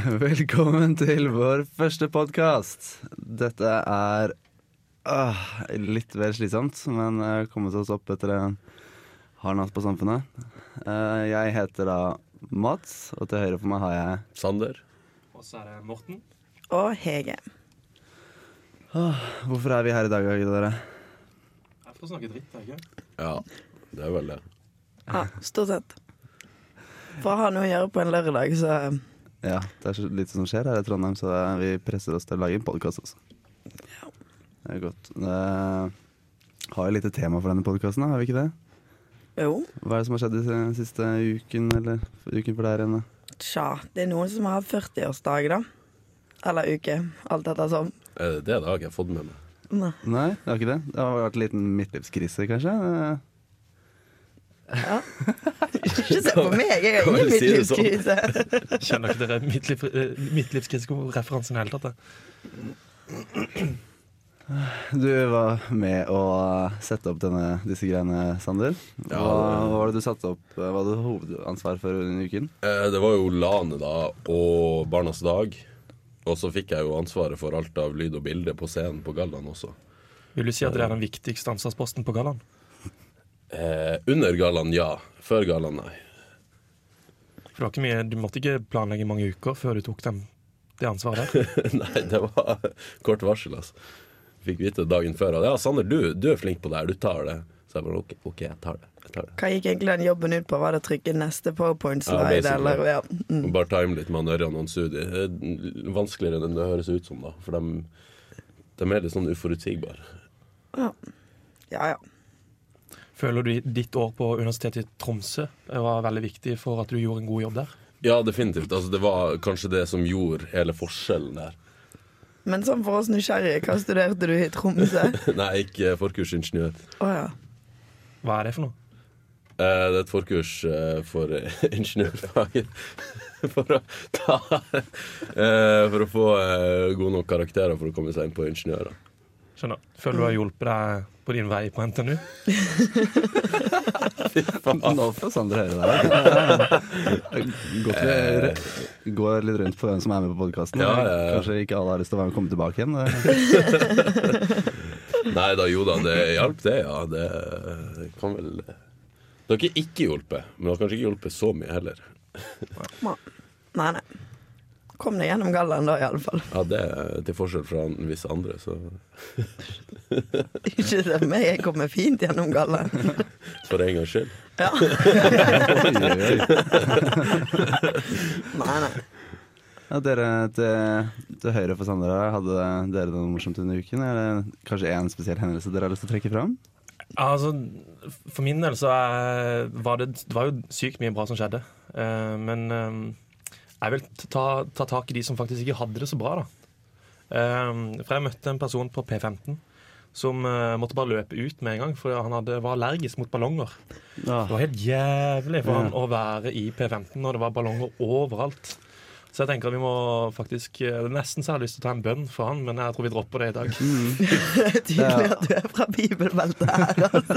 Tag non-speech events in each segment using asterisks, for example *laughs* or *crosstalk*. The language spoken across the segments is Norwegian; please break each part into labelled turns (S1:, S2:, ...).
S1: *laughs* Velkommen til vår første podkast. Dette er ah, litt vel slitsomt, men eh, kommet oss opp etter en hard natt på Samfunnet. Eh, jeg heter da Mats, og til høyre for meg har jeg
S2: Sander.
S3: Og så er det Morten.
S4: og Hege.
S1: Hvorfor er vi her i dag, dere?
S3: Jeg får snakke dritt, jeg. ikke?
S2: Ja, det er vel det.
S4: Ja, stort sett. For å ha noe å gjøre på en lørdag, så
S1: Ja, det er så lite som skjer her i Trondheim, så eh, vi presser oss til å lage en podkast også. Det er godt. Uh, har jo lite tema for denne podkasten, har vi ikke det?
S4: jo.
S1: Hva er det som har skjedd den siste uken, eller uken for der igjen? da?
S4: Tja, det er noen som har 40-årsdag, da. Eller uke, alt etter som.
S2: Er Eh, det det det har ikke jeg fått med meg?
S4: Nei.
S1: Nei, det har ikke det. Det har vært en liten midtlivskrise, kanskje. Eh,
S4: Ja. Ikke se på meg, jeg har
S2: Kan vel si
S4: ingen
S2: det sånn.
S4: midtlivskrise.
S3: Skjønner ikke dere midtliv, eh, midtlivskrisereferansen i det hele tatt? jeg.
S1: Du var med å sette opp denne, disse greiene, Sander. Hva,
S2: Ja, det-
S1: hva var det du satte opp? Hva hadde du hovedansvar for denne uken?
S2: Eh, Det var jo LANE da, og Barnas dag. Og så fikk jeg jo ansvaret for alt av lyd og bilde på scenen på gallaen også.
S3: Vil du si at det er den viktigste ansvarsposten på gallaen?
S2: Eh, under gallaen, ja. Før gallaen, nei. *laughs*
S3: For det var ikke mye, Du måtte ikke planlegge mange uker før du tok dem, det ansvaret der.
S2: nei, det var kort varsel, altså. Fikk vite dagen før at ja, Sander, du, du er flink på det her, du tar det. Så jeg bare OK, ok, jeg tar det. Jeg tar det.
S4: Hva gikk egentlig den jobben ut på? Var det å trykke neste
S2: Ja,
S4: powerpoint-slide,
S2: basically.
S4: eller ja. mm.
S2: Og Bare time litt med han Ørjan og han Sudi. Det er Vanskeligere enn det høres ut som, da. For de, de er litt sånn uforutsigbare.
S4: ja, ja.
S3: Føler du ditt år på Universitetet i Tromsø var veldig viktig for at du gjorde en god jobb der?
S2: Ja, definitivt. Altså, det var kanskje det som gjorde hele forskjellen der. *laughs*
S4: Men sånn for oss nysgjerrige, hva studerte du i Tromsø?
S2: *laughs* Nei, jeg gikk eh, forkursingeniør.
S4: Å ja.
S3: Hva er det for noe?
S2: Eh, Det er et forkurs eh, for *laughs* eh, ingeniørfaget. *laughs* For å, ta, eh, for å få eh, gode nok karakterer for å komme seg inn på ingeniører.
S3: Skjønner. Føler du har hjulpet deg på din vei på NTNU?
S1: Nå får Sander høre *laughs* det. Godt vi går litt rundt på hvem som er med på podkasten.
S2: Ja, ja, ja.
S1: Kanskje ikke alle har lyst til å være med og komme tilbake igjen. *laughs*
S2: Nei da, jo da, det hjalp det, ja. Det eh, kan vel eh, Det har ikke ikke hjulpet, men det har kanskje ikke hjulpet så mye heller.
S4: Ma- Nei, nei. Kom deg gjennom gallaen da, iallfall.
S2: Ja, det er til forskjell fra visse andre, så
S4: *laughs* Ikke se på meg, jeg kommer fint gjennom gallaen. *laughs*
S2: for en gangs skyld.
S4: Ja.
S1: Oi, oi, oi.
S4: Nei, nei.
S1: Ja, dere til, til høyre for Sander her, hadde dere noe morsomt under uken? Er det kanskje én spesiell hendelse dere har lyst til å trekke fram?
S3: Altså, for min del så er, var det, det var jo sykt mye bra som skjedde. Eh, men eh, jeg vil ta, ta tak i de som faktisk ikke hadde det så bra, da. Eh, for jeg møtte en person på P15 som eh, måtte bare løpe ut med en gang, for han hadde, var allergisk mot ballonger. Det var helt jævlig for han å være i P15 når det var ballonger overalt. Så jeg tenker at vi må faktisk eh, Nesten så har jeg lyst til å ta en bønn for han, men jeg tror vi dropper det i dag.
S4: Det er tydelig at du er fra bibelbeltet her, altså.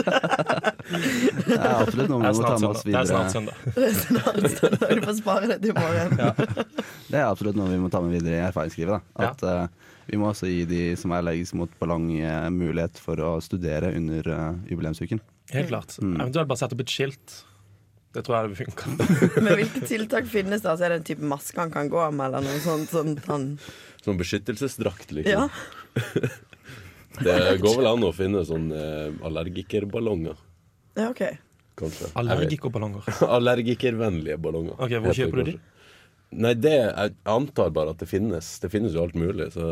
S1: Det er absolutt noe vi
S3: Det er
S1: må ta
S3: snart
S1: med oss
S3: søndag. Det
S1: videre.
S3: er snart søndag.
S4: Snart, snart, du får spare det til i morgen.
S1: Det er absolutt noe vi må ta med videre i erfaringsskrivet. Da.
S3: Ja.
S1: At eh, vi må også gi de som er allergiske mot ballong, eh, mulighet for å studere under eh, jubileumsuken.
S3: Helt klart.
S2: Mm.
S3: Eventuelt bare sette opp et skilt. Det tror jeg det funker.
S4: Men hvilke tiltak finnes det? Altså, er det en type maske han kan gå med, eller noe sånt? sånn at han...
S2: Sånn beskyttelsesdrakt, liksom.
S4: Ja.
S2: Det går vel an å finne sånne eh, allergikerballonger,
S4: ja, OK.
S2: kanskje.
S3: Allergikerballonger.
S2: Jeg vet. Allergikervennlige ballonger.
S3: Ok, hvor
S2: heter det
S3: kjøper du de?
S2: kanskje. Nei, det Jeg antar bare at det finnes. Det finnes jo alt mulig. Så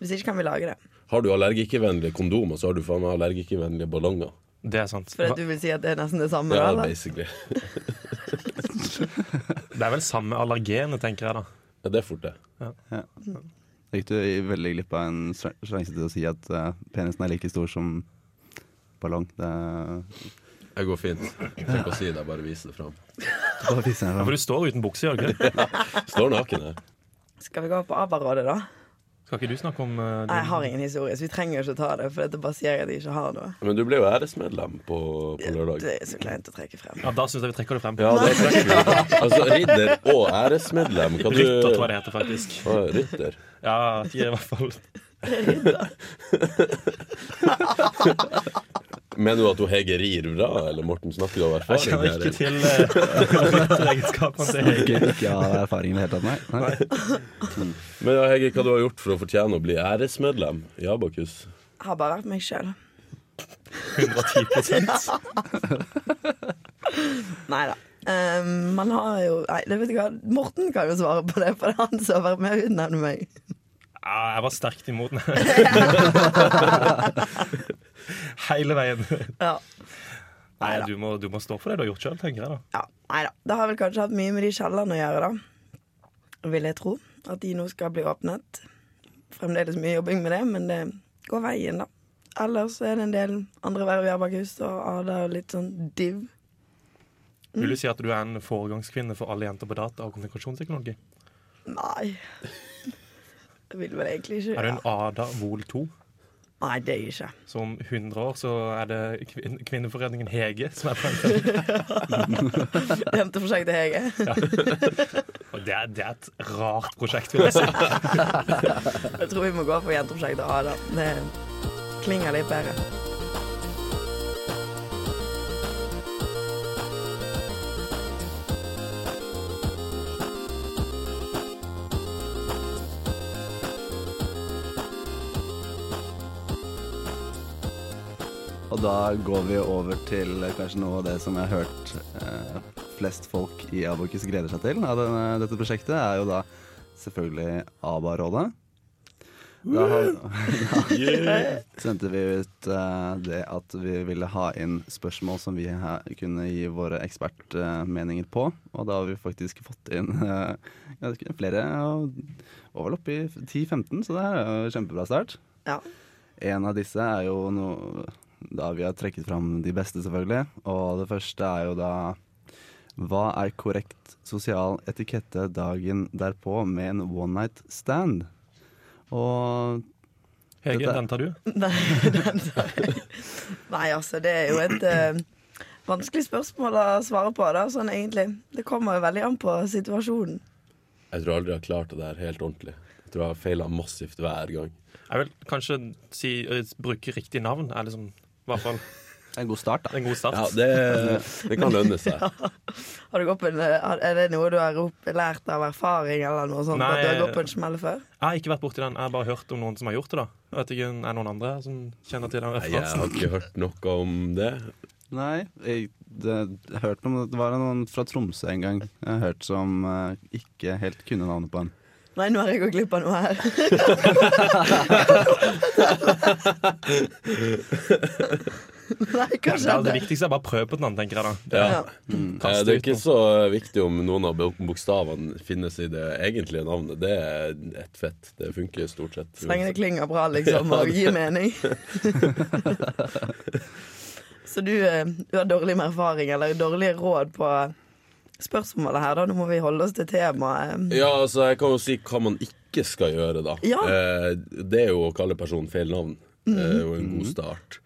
S4: Hvis ikke kan vi lage det.
S2: har du allergikervennlige kondomer, så har du faen meg allergikervennlige ballonger.
S3: Det er sant.
S4: For at du vil si at det er nesten det samme?
S2: Ja,
S4: eller?
S2: basically.
S3: Det er vel samme allergenet, tenker jeg da.
S2: Ja, det er fort det.
S1: Ja. Da Gikk du i- veldig glipp av en sj- sjanse til å si at eh, penisen er like stor som ballong? Det er-
S2: Jeg går fint. Tenk å si det, jeg bare viser det fram.
S1: Bare viser jeg
S3: For
S1: fram.
S3: du står uten bukse, gjør du ikke det?
S2: Står naken her.
S4: Skal vi gå på ABBA-rådet, da?
S3: Skal ikke du snakke om eh,
S4: Nei, jeg har
S3: din-
S4: ingen historie, så vi trenger jo ikke ta det. For dette bare sier jeg at jeg ikke har noe.
S2: Men du ble jo æresmedlem på, på lørdag.
S4: Det er så kleint å trekke frem.
S3: Ja, Da syns jeg vi trekker det frem.
S2: Ja, det trekker vi. Altså, ridder og æresmedlem. Hva du
S3: *laughs* Rytter, tror jeg det heter, faktisk.
S2: Å, Rytter.
S3: Ja, de er i hvert fall
S2: Mener du at hun Hege rir bra, eller Morten snakker du av
S3: Jeg
S2: erfaring?
S3: kjenner
S2: her?
S3: ikke til eh, rytteregenskapene
S2: *laughs*
S3: til Hege.
S1: Ikke, ikke av erfaring i det hele tatt, nei. nei.
S2: Men ja, Hege, hva du har gjort for å fortjene å bli æresmedlem i Abakus?
S4: Jeg har bare vært meg sjøl. *laughs*
S3: 110
S4: Nei da. Ehm, man har jo Nei, det vet du hva. Morten kan jo svare på det, for det er han som har vært med å utnevne meg.
S3: ja, Jeg var sterkt imot
S2: *laughs*
S3: den. Hele veien.
S4: Ja.
S3: Nei, du må, du må stå for det du har gjort sjøl, tenker jeg da.
S4: ja. Nei da. Det har vel kanskje hatt mye med de kjellerne å gjøre, da. Vil jeg tro. At de nå skal bli åpnet. Fremdeles mye jobbing med det, men det går veien, da. Ellers så er det en del andre verv i Abakus og Ada og litt sånn div.
S2: Mm.
S3: Vil du si at du er en foregangskvinne for alle jenter på data og kommunikasjonsteknologi?
S4: Nei. Det vil vel egentlig ikke
S3: Er du
S4: ja.
S3: en Ada Vol 2?
S4: Nei, det er jeg ikke.
S3: Så om 100 år så er det kvin Kvinneforeningen Hege som er
S2: *laughs*
S3: på den felten.
S4: Jenteprosjektet Hege.
S3: Og det er, det er et rart prosjekt, vil
S2: *laughs*
S3: jeg si.
S4: Jeg tror vi må gå for jenteprosjektet Ada. Det klinger litt bedre.
S1: Og da går vi over til kanskje noe av det som jeg har hørt eh, flest folk i Abokus gleder seg til av denne, dette prosjektet, er jo da selvfølgelig ABA-rådet. Da har, sendte vi ut eh, det at vi ville ha inn spørsmål som vi her kunne gi våre ekspertmeninger på. Og da har vi faktisk fått inn eh, ganske flere, og var vel oppe i 10-15, så det her er jo kjempebra start.
S4: Ja.
S1: En av disse er jo noe Da vi har trekket fram de beste, selvfølgelig. Og det første er jo da Hva er korrekt sosial etikette dagen derpå med en one night stand? Og
S3: Hege,
S1: Dette-
S3: den tar du.
S4: Nei, *laughs* den tar jeg. Nei, altså, det er jo et eh, vanskelig spørsmål å svare på, da, sånn egentlig. Det kommer jo veldig an på situasjonen.
S2: Jeg tror aldri jeg har klart det der helt ordentlig. Jeg tror jeg har feila massivt hver gang.
S3: Jeg vil kanskje si, eh, bruke riktig navn. Er liksom i hvert fall
S1: en god start, da.
S3: en god start.
S2: Ja, det, det kan lønne seg.
S4: Har du gått på en, eh, er det noe du har rop, lært av erfaring, eller noe sånt?
S3: Nei.
S4: At du har gått på en smell før?
S3: Jeg har ikke vært borti den. Jeg har bare hørt om noen som har gjort det. da Jeg vet ikke, Er det noen andre som kjenner til den
S2: Nei, Jeg
S3: referansen?
S2: har ikke hørt noe om det.
S1: Nei, jeg, det, jeg hørte om det var noen fra Tromsø en gang jeg har hørt som eh, ikke helt kunne navnet på en.
S4: Nei, nå har jeg gått glipp av noe
S3: *laughs*
S4: her. Nei, hva
S3: Det, er det
S4: skjedde?
S3: viktigste er bare å prøve på den andre, tenker jeg da.
S2: Ja.
S4: Ja.
S2: Eh,
S3: Kast
S2: Det er
S3: ut
S2: ikke
S3: noe.
S2: så viktig om noen av bo- bokstavene finnes i det egentlige navnet. Det er ett fett. Det funker stort sett.
S4: Så lenge det klinger bra, *laughs* liksom, og gir mening. Så du, eh, du har dårlig med erfaring, eller dårlige råd på spørsmålet her, da. Nå må vi holde oss til temaet. eh,
S2: Ja, altså, jeg kan jo si hva man ikke skal gjøre, da.
S4: Ja.
S2: Eh, Det er jo å kalle personen feil navn. Det er jo en god start.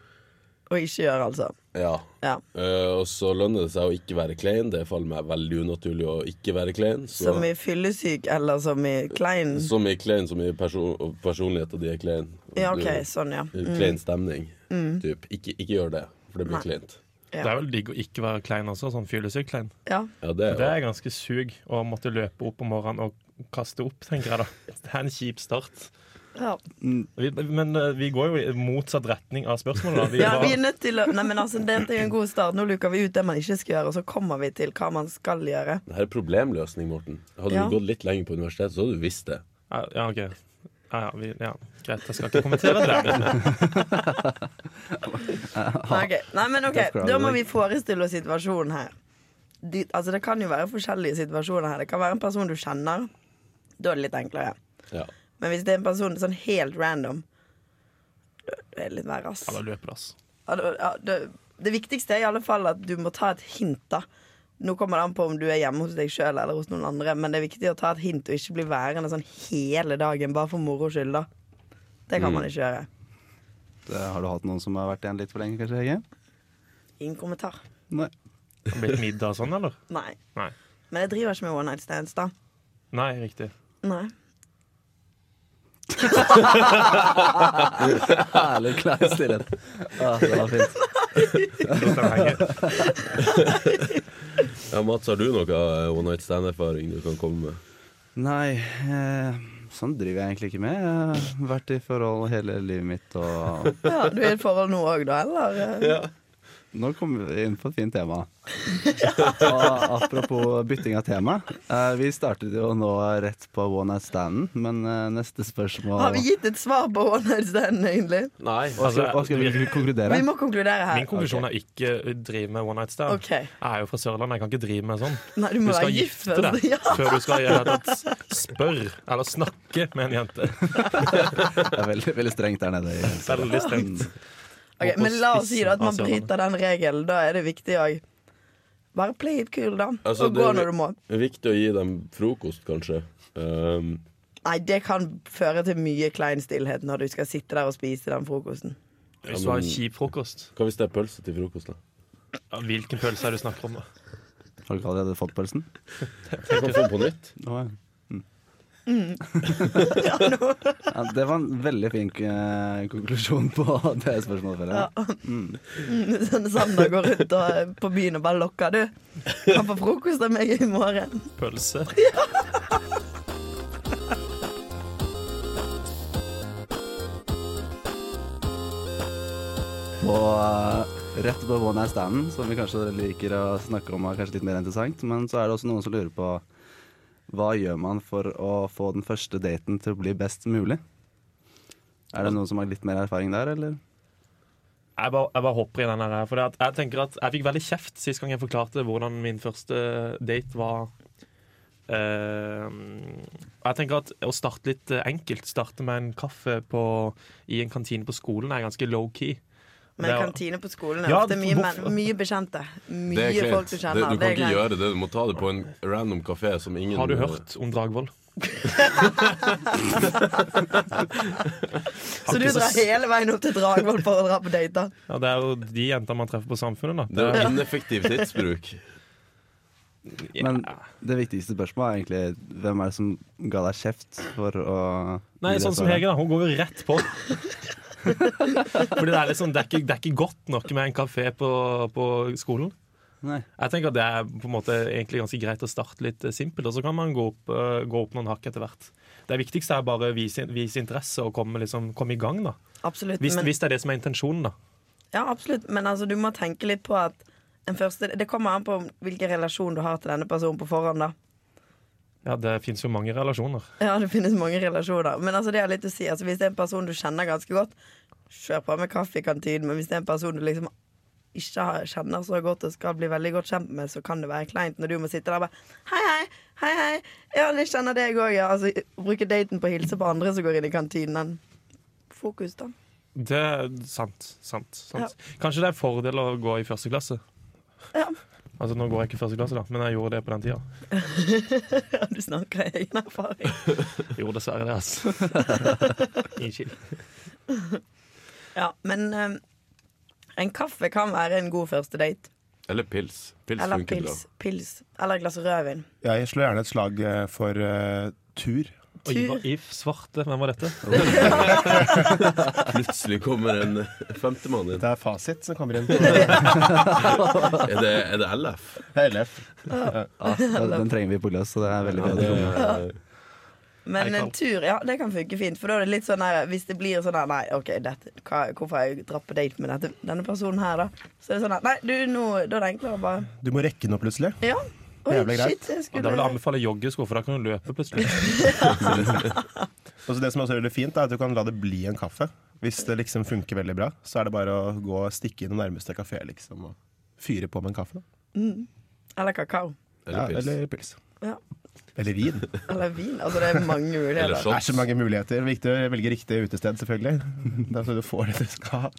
S4: Og ikke gjøre, altså.
S2: Ja.
S4: Mhm. Ja.
S2: Eh, Og så lønner det seg å ikke være klein. Det faller meg veldig unaturlig å ikke være klein. Så,
S4: Som i fyllesyk, eller som i klein.
S2: som i klein, som i perso personligheten din er klein.
S4: Ja, OK.
S2: Du-
S4: Sånn, ja.
S2: Klein stemning. Typ. Ikke, ikke gjør det, for det blir
S4: Nei.
S2: kleint.
S3: Det er vel digg å ikke være klein også, sånn fyllesyk klein.
S4: ja.
S2: Ja, det er
S3: Det
S2: jo
S3: er ganske sug å måtte løpe opp om morgenen og kaste opp, tenker jeg da. Det er en kjip start.
S4: ja.
S3: Vi, men eh, vi går jo i motsatt retning av spørsmålet, da. Vi
S4: *laughs* Ja, vi er
S3: var,
S4: nødt til å Nei, men altså, Dette er jo en god start. Nå luker vi ut det man ikke skal gjøre, og så kommer vi til hva man skal gjøre.
S2: Det her er problemløsning, Morten. Hadde
S4: Ja.
S2: du gått litt lenger på universitetet, så hadde du visst det.
S3: ja, OK. Ja, ja, vi, ja, greit. Jeg skal ikke
S1: *laughs*
S3: kommentere det der.
S4: Nei, ok. Nei, men OK,
S1: Det skal
S4: da må
S1: du.
S4: vi forestille oss situasjonen her. De, altså, Det kan jo være forskjellige situasjoner her. Det kan være en person du kjenner. Da er det litt enklere.
S2: Ja.
S4: Men hvis det er en person sånn helt random, da da er det litt verre, ass.
S3: Ja, da løper det, ass.
S4: Ja, da- ja, det, det viktigste er i alle fall at du må ta et hint, da. Nå kommer det an på om du er hjemme hos deg sjøl eller hos noen andre, men det er viktig å ta et hint og ikke bli værende sånn hele dagen bare for moro skyld, da. Det
S1: Mm.
S4: kan man ikke gjøre.
S1: Det, har du hatt noen som har vært igjen litt for lenge, kanskje, Hege?
S4: Ingen kommentar.
S1: Nei.
S3: Har det blitt middag og sånn, eller?
S4: Nei.
S3: Nei.
S4: Men jeg driver ikke med one night stands, da.
S3: Nei,
S1: *laughs*
S3: riktig.
S4: Nei.
S1: Herlig klar stillhet. *laughs* Ja, det var fint.
S3: Lot den henge.
S2: Ja, Mats, har du noe eh, one night stand-erfaring du kan komme med?
S1: Nei, eh, sånn driver jeg egentlig ikke med. Jeg har vært i forhold hele livet mitt og
S4: Ja, du er i et forhold nå òg, da, eller?
S2: Ja.
S1: Nå kommer vi inn på et fint
S4: *laughs*
S1: tema. Og apropos bytting av tema. Eh, vi startet jo nå rett på one night standen, men eh, neste spørsmål
S4: Har vi gitt et svar på one night stand, egentlig?
S2: Nei.
S1: Hva skal, Altså, hva skal vi konkludere?
S4: Vi må konkludere
S3: Altså, Min
S4: her.
S3: konklusjon er ikke drive med one night stand.
S4: OK.
S3: Jeg er jo fra Sørlandet, jeg kan ikke drive med sånn.
S4: Nei, du
S3: Du
S4: må
S3: skal
S4: være gift
S3: gifte deg
S4: først. *laughs* Ja.
S3: før du skal i det hele tatt spørre eller snakke med en jente.
S1: Det er veldig, veldig strengt der nede. i-
S3: Veldig strengt.
S4: *laughs* Ok,
S3: Og på
S4: men la oss si da at man
S3: spissen av
S4: bryter den regelen. Da er det viktig òg. Bare play it cool, da.
S2: Altså,
S4: og
S2: det
S4: gå
S2: er vi-
S4: når du må.
S2: Det er viktig å gi dem frokost, kanskje. Um,
S4: Nei, det kan føre til mye klein stillhet når du skal sitte der og spise den frokosten. *laughs*
S3: Hvis du har en kjip frokost,
S2: hva hvis det er pølse til frokost, *laughs* da?
S3: ja, hvilken pølse er det du snakker om? da?
S1: Har du ikke allerede fått pølsen?
S2: Jeg kan få den på nytt.
S1: Å, ja. Mm.
S4: Mm.
S1: *laughs* ja, det var en veldig fin eh, konklusjon på det spørsmålet. føler jeg.
S4: Sånn Sander går rundt og, eh, på byen og bare lokker, du. Kan få frokost av meg i morgen.
S3: Pølse?
S1: På eh, rett på one night standen, som vi kanskje liker å snakke om er kanskje litt mer interessant, men så er det også noen som lurer på hva gjør man for å få den første daten til å bli best mulig? Er det noen som har litt mer erfaring der, eller?
S3: Jeg bare, jeg bare hopper i den her. For det at jeg tenker at jeg fikk veldig kjeft sist gang jeg forklarte hvordan min første date var. Eh, jeg tenker at Å starte litt eh, enkelt, starte med en kaffe på, i en kantine på skolen, er ganske low-key.
S4: Men kantine på skolen er
S3: Ja,
S4: ofte mye,
S3: hvorfor-
S4: menn- mye bekjente.
S2: Det
S4: Mye
S2: er kleint.
S4: folk du
S2: Det- Du
S4: kjenner. Det
S2: kan
S4: er
S2: ikke
S4: greit.
S2: gjøre det. Du må ta det på en random kafé som ingen
S3: Har du hørt om
S4: *laughs*
S3: Dragvoll?
S4: Så du drar hele veien opp til Dragvoll for å dra på date? da?
S3: Ja, det er jo de jentene man treffer på Samfunnet,
S2: Det
S3: da.
S2: er ineffektiv tidsbruk.
S3: Ja.
S1: Men det viktigste spørsmålet er egentlig hvem er det som ga deg kjeft for å gi
S3: Nei,
S1: det
S3: sånn som
S1: svaret?
S3: Hege, da. Hun går jo rett på. Fordi det er, litt sånn, det, er ikke, det er ikke godt nok med en kafé på, på skolen.
S1: Nei.
S3: Jeg tenker at Det er på en måte egentlig ganske greit å starte litt eh, simpelt, og så kan man gå opp, eh, gå opp noen hakk etter hvert. Det viktigste er bare å vise, vise interesse og komme, liksom, komme i gang, da.
S4: Absolutt.
S3: Hvis,
S4: men-
S3: hvis det er det som er intensjonen, da.
S4: Ja, absolutt, men altså, du må tenke litt på at en første, Det kommer an på hvilken relasjon du har til denne personen på forhånd. da
S3: Ja, Det fins jo mange relasjoner.
S4: Ja, Det finnes mange relasjoner. Men altså, det er litt å si altså, hvis det er en person du kjenner ganske godt, kjør på med kaffe i kantinen. Men hvis det er en person du liksom ikke har- kjenner så godt og skal bli veldig godt kjent med, så kan det være kleint når du må sitte der og bare Hei, hei, hei, hei. Ja, jeg kjenner deg òg, ja. Altså, bruke daten på å hilse på andre som går inn i kantinen. Fokus, da.
S3: Det er sant. sant, sant. Kanskje det er fordel å gå i første klasse.
S4: Ja.
S3: Altså, Nå går jeg ikke i første klasse, da, men jeg gjorde det på den tida.
S4: *laughs* Ja, du snakker av egen erfaring.
S3: Jo, dessverre det, *laughs* altså. Unnskyld.
S4: Ja, men eh, en kaffe kan være en god første date.
S2: Eller pils. Pils
S4: Eller
S2: funker
S4: pils. pils. Eller et glass rødvin.
S5: Ja, jeg slår gjerne et slag eh, for eh, tur.
S3: Oi,
S4: Tur.
S3: hva- If Svarte, hvem var dette?
S2: bra. *laughs* Plutselig kommer en femtemann inn.
S5: Det er fasit som kommer inn på *laughs* eh,
S2: Er det, er det LF?
S5: LF.
S1: Ja, Ah,
S3: *laughs*
S1: den- den trenger vi på løs, så det er veldig bra.
S2: Det,
S1: at du kommer.
S3: Er
S4: Men
S3: det
S4: en
S3: kaldt?
S4: tur, ja, det kan funke fint. For da er det litt sånn her Hvis det blir sånn her Nei, OK, dette, hva, hvorfor har jeg dratt på date med dette, denne personen her, da? Så er det sånn her Nei, du, nå Da er det enklere å bare
S5: Du må rekke noe plutselig.
S4: Ja. Oi,
S5: Jævlig greit.
S4: shit,
S3: Og Da
S4: jeg
S3: vil jeg
S4: skulle
S3: anbefale joggesko, for da kan du løpe plutselig.
S5: Og så det som også er veldig fint, er at du kan la det bli en kaffe. Hvis det liksom funker veldig bra, så er det bare å gå og stikke i den nærmeste kafé liksom, og fyre på med en kaffe. Da.
S4: Eller kakao.
S5: Ja,
S2: eller pils.
S5: eller pils.
S4: Ja.
S5: Eller *laughs* vin.
S4: Eller vin. Altså, det er mange
S2: Eller
S4: muligheter.
S5: Det er
S2: shots.
S5: så mange muligheter. Viktig å velge riktig utested, selvfølgelig. Det er så du får det du skal ha.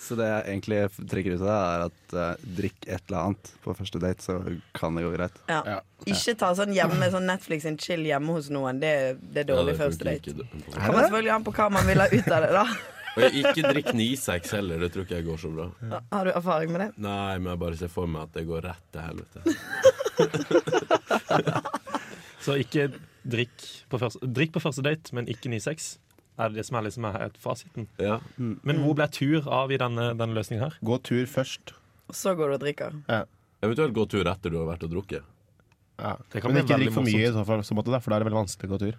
S1: Så det jeg egentlig trekker ut av det, er at eh, drikk et eller annet på første date, så kan det gå greit.
S4: Ja.
S5: Ja.
S4: Ikke ta sånn hjemme sånn Netflix en chill hjemme hos noen. Det, det er dårlig første date.
S2: date.
S4: Kommer selvfølgelig an på hva man vil ha ut av det, da.
S2: Ikke drikk Nisex heller, det tror ikke jeg går så bra.
S4: Har du erfaring med det?
S2: Nei, men jeg bare ser for meg at det går rett til helvete.
S3: *laughs* Så ikke drikk på første, drikk på første date, men ikke 9-6. Er det det som er liksom er fasiten.
S2: Ja.
S3: Men hvor ble tur av i denne, denne løsningen her?
S5: Gå tur først.
S4: Og så går du og drikker.
S5: Ja.
S2: Eventuelt gå tur etter du har vært og drukket.
S5: Ja.
S3: Det kan
S5: Men
S3: bli
S5: ikke
S3: veldig
S5: drikk for mye i så fall, så måte, da, for da er det veldig vanskelig å gå tur.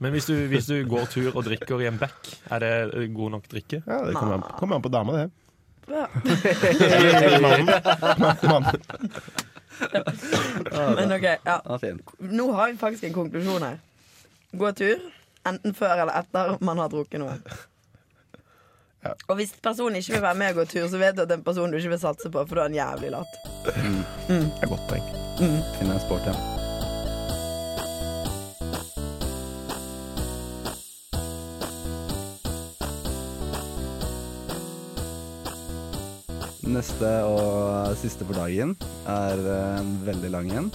S3: Men hvis du, hvis du går tur og drikker i en bekk, er det eh, god nok drikke?
S5: Ja, Det kommer an, kommer an på dama, det.
S4: Ja.
S5: Eller, eller mannen. mannen.
S4: Men ok, ja.
S1: Ja, fin.
S4: Nå har vi faktisk en konklusjon her. Gå tur, enten før eller etter man har drukket noe.
S5: Ja.
S4: Og hvis personen ikke vil være med og gå tur, så vet du at den personen du ikke vil satse på, for da er han jævlig lat.
S5: Det er godt poeng.
S1: Finn en sport, ja. Neste og siste for dagen er eh, en veldig lang en.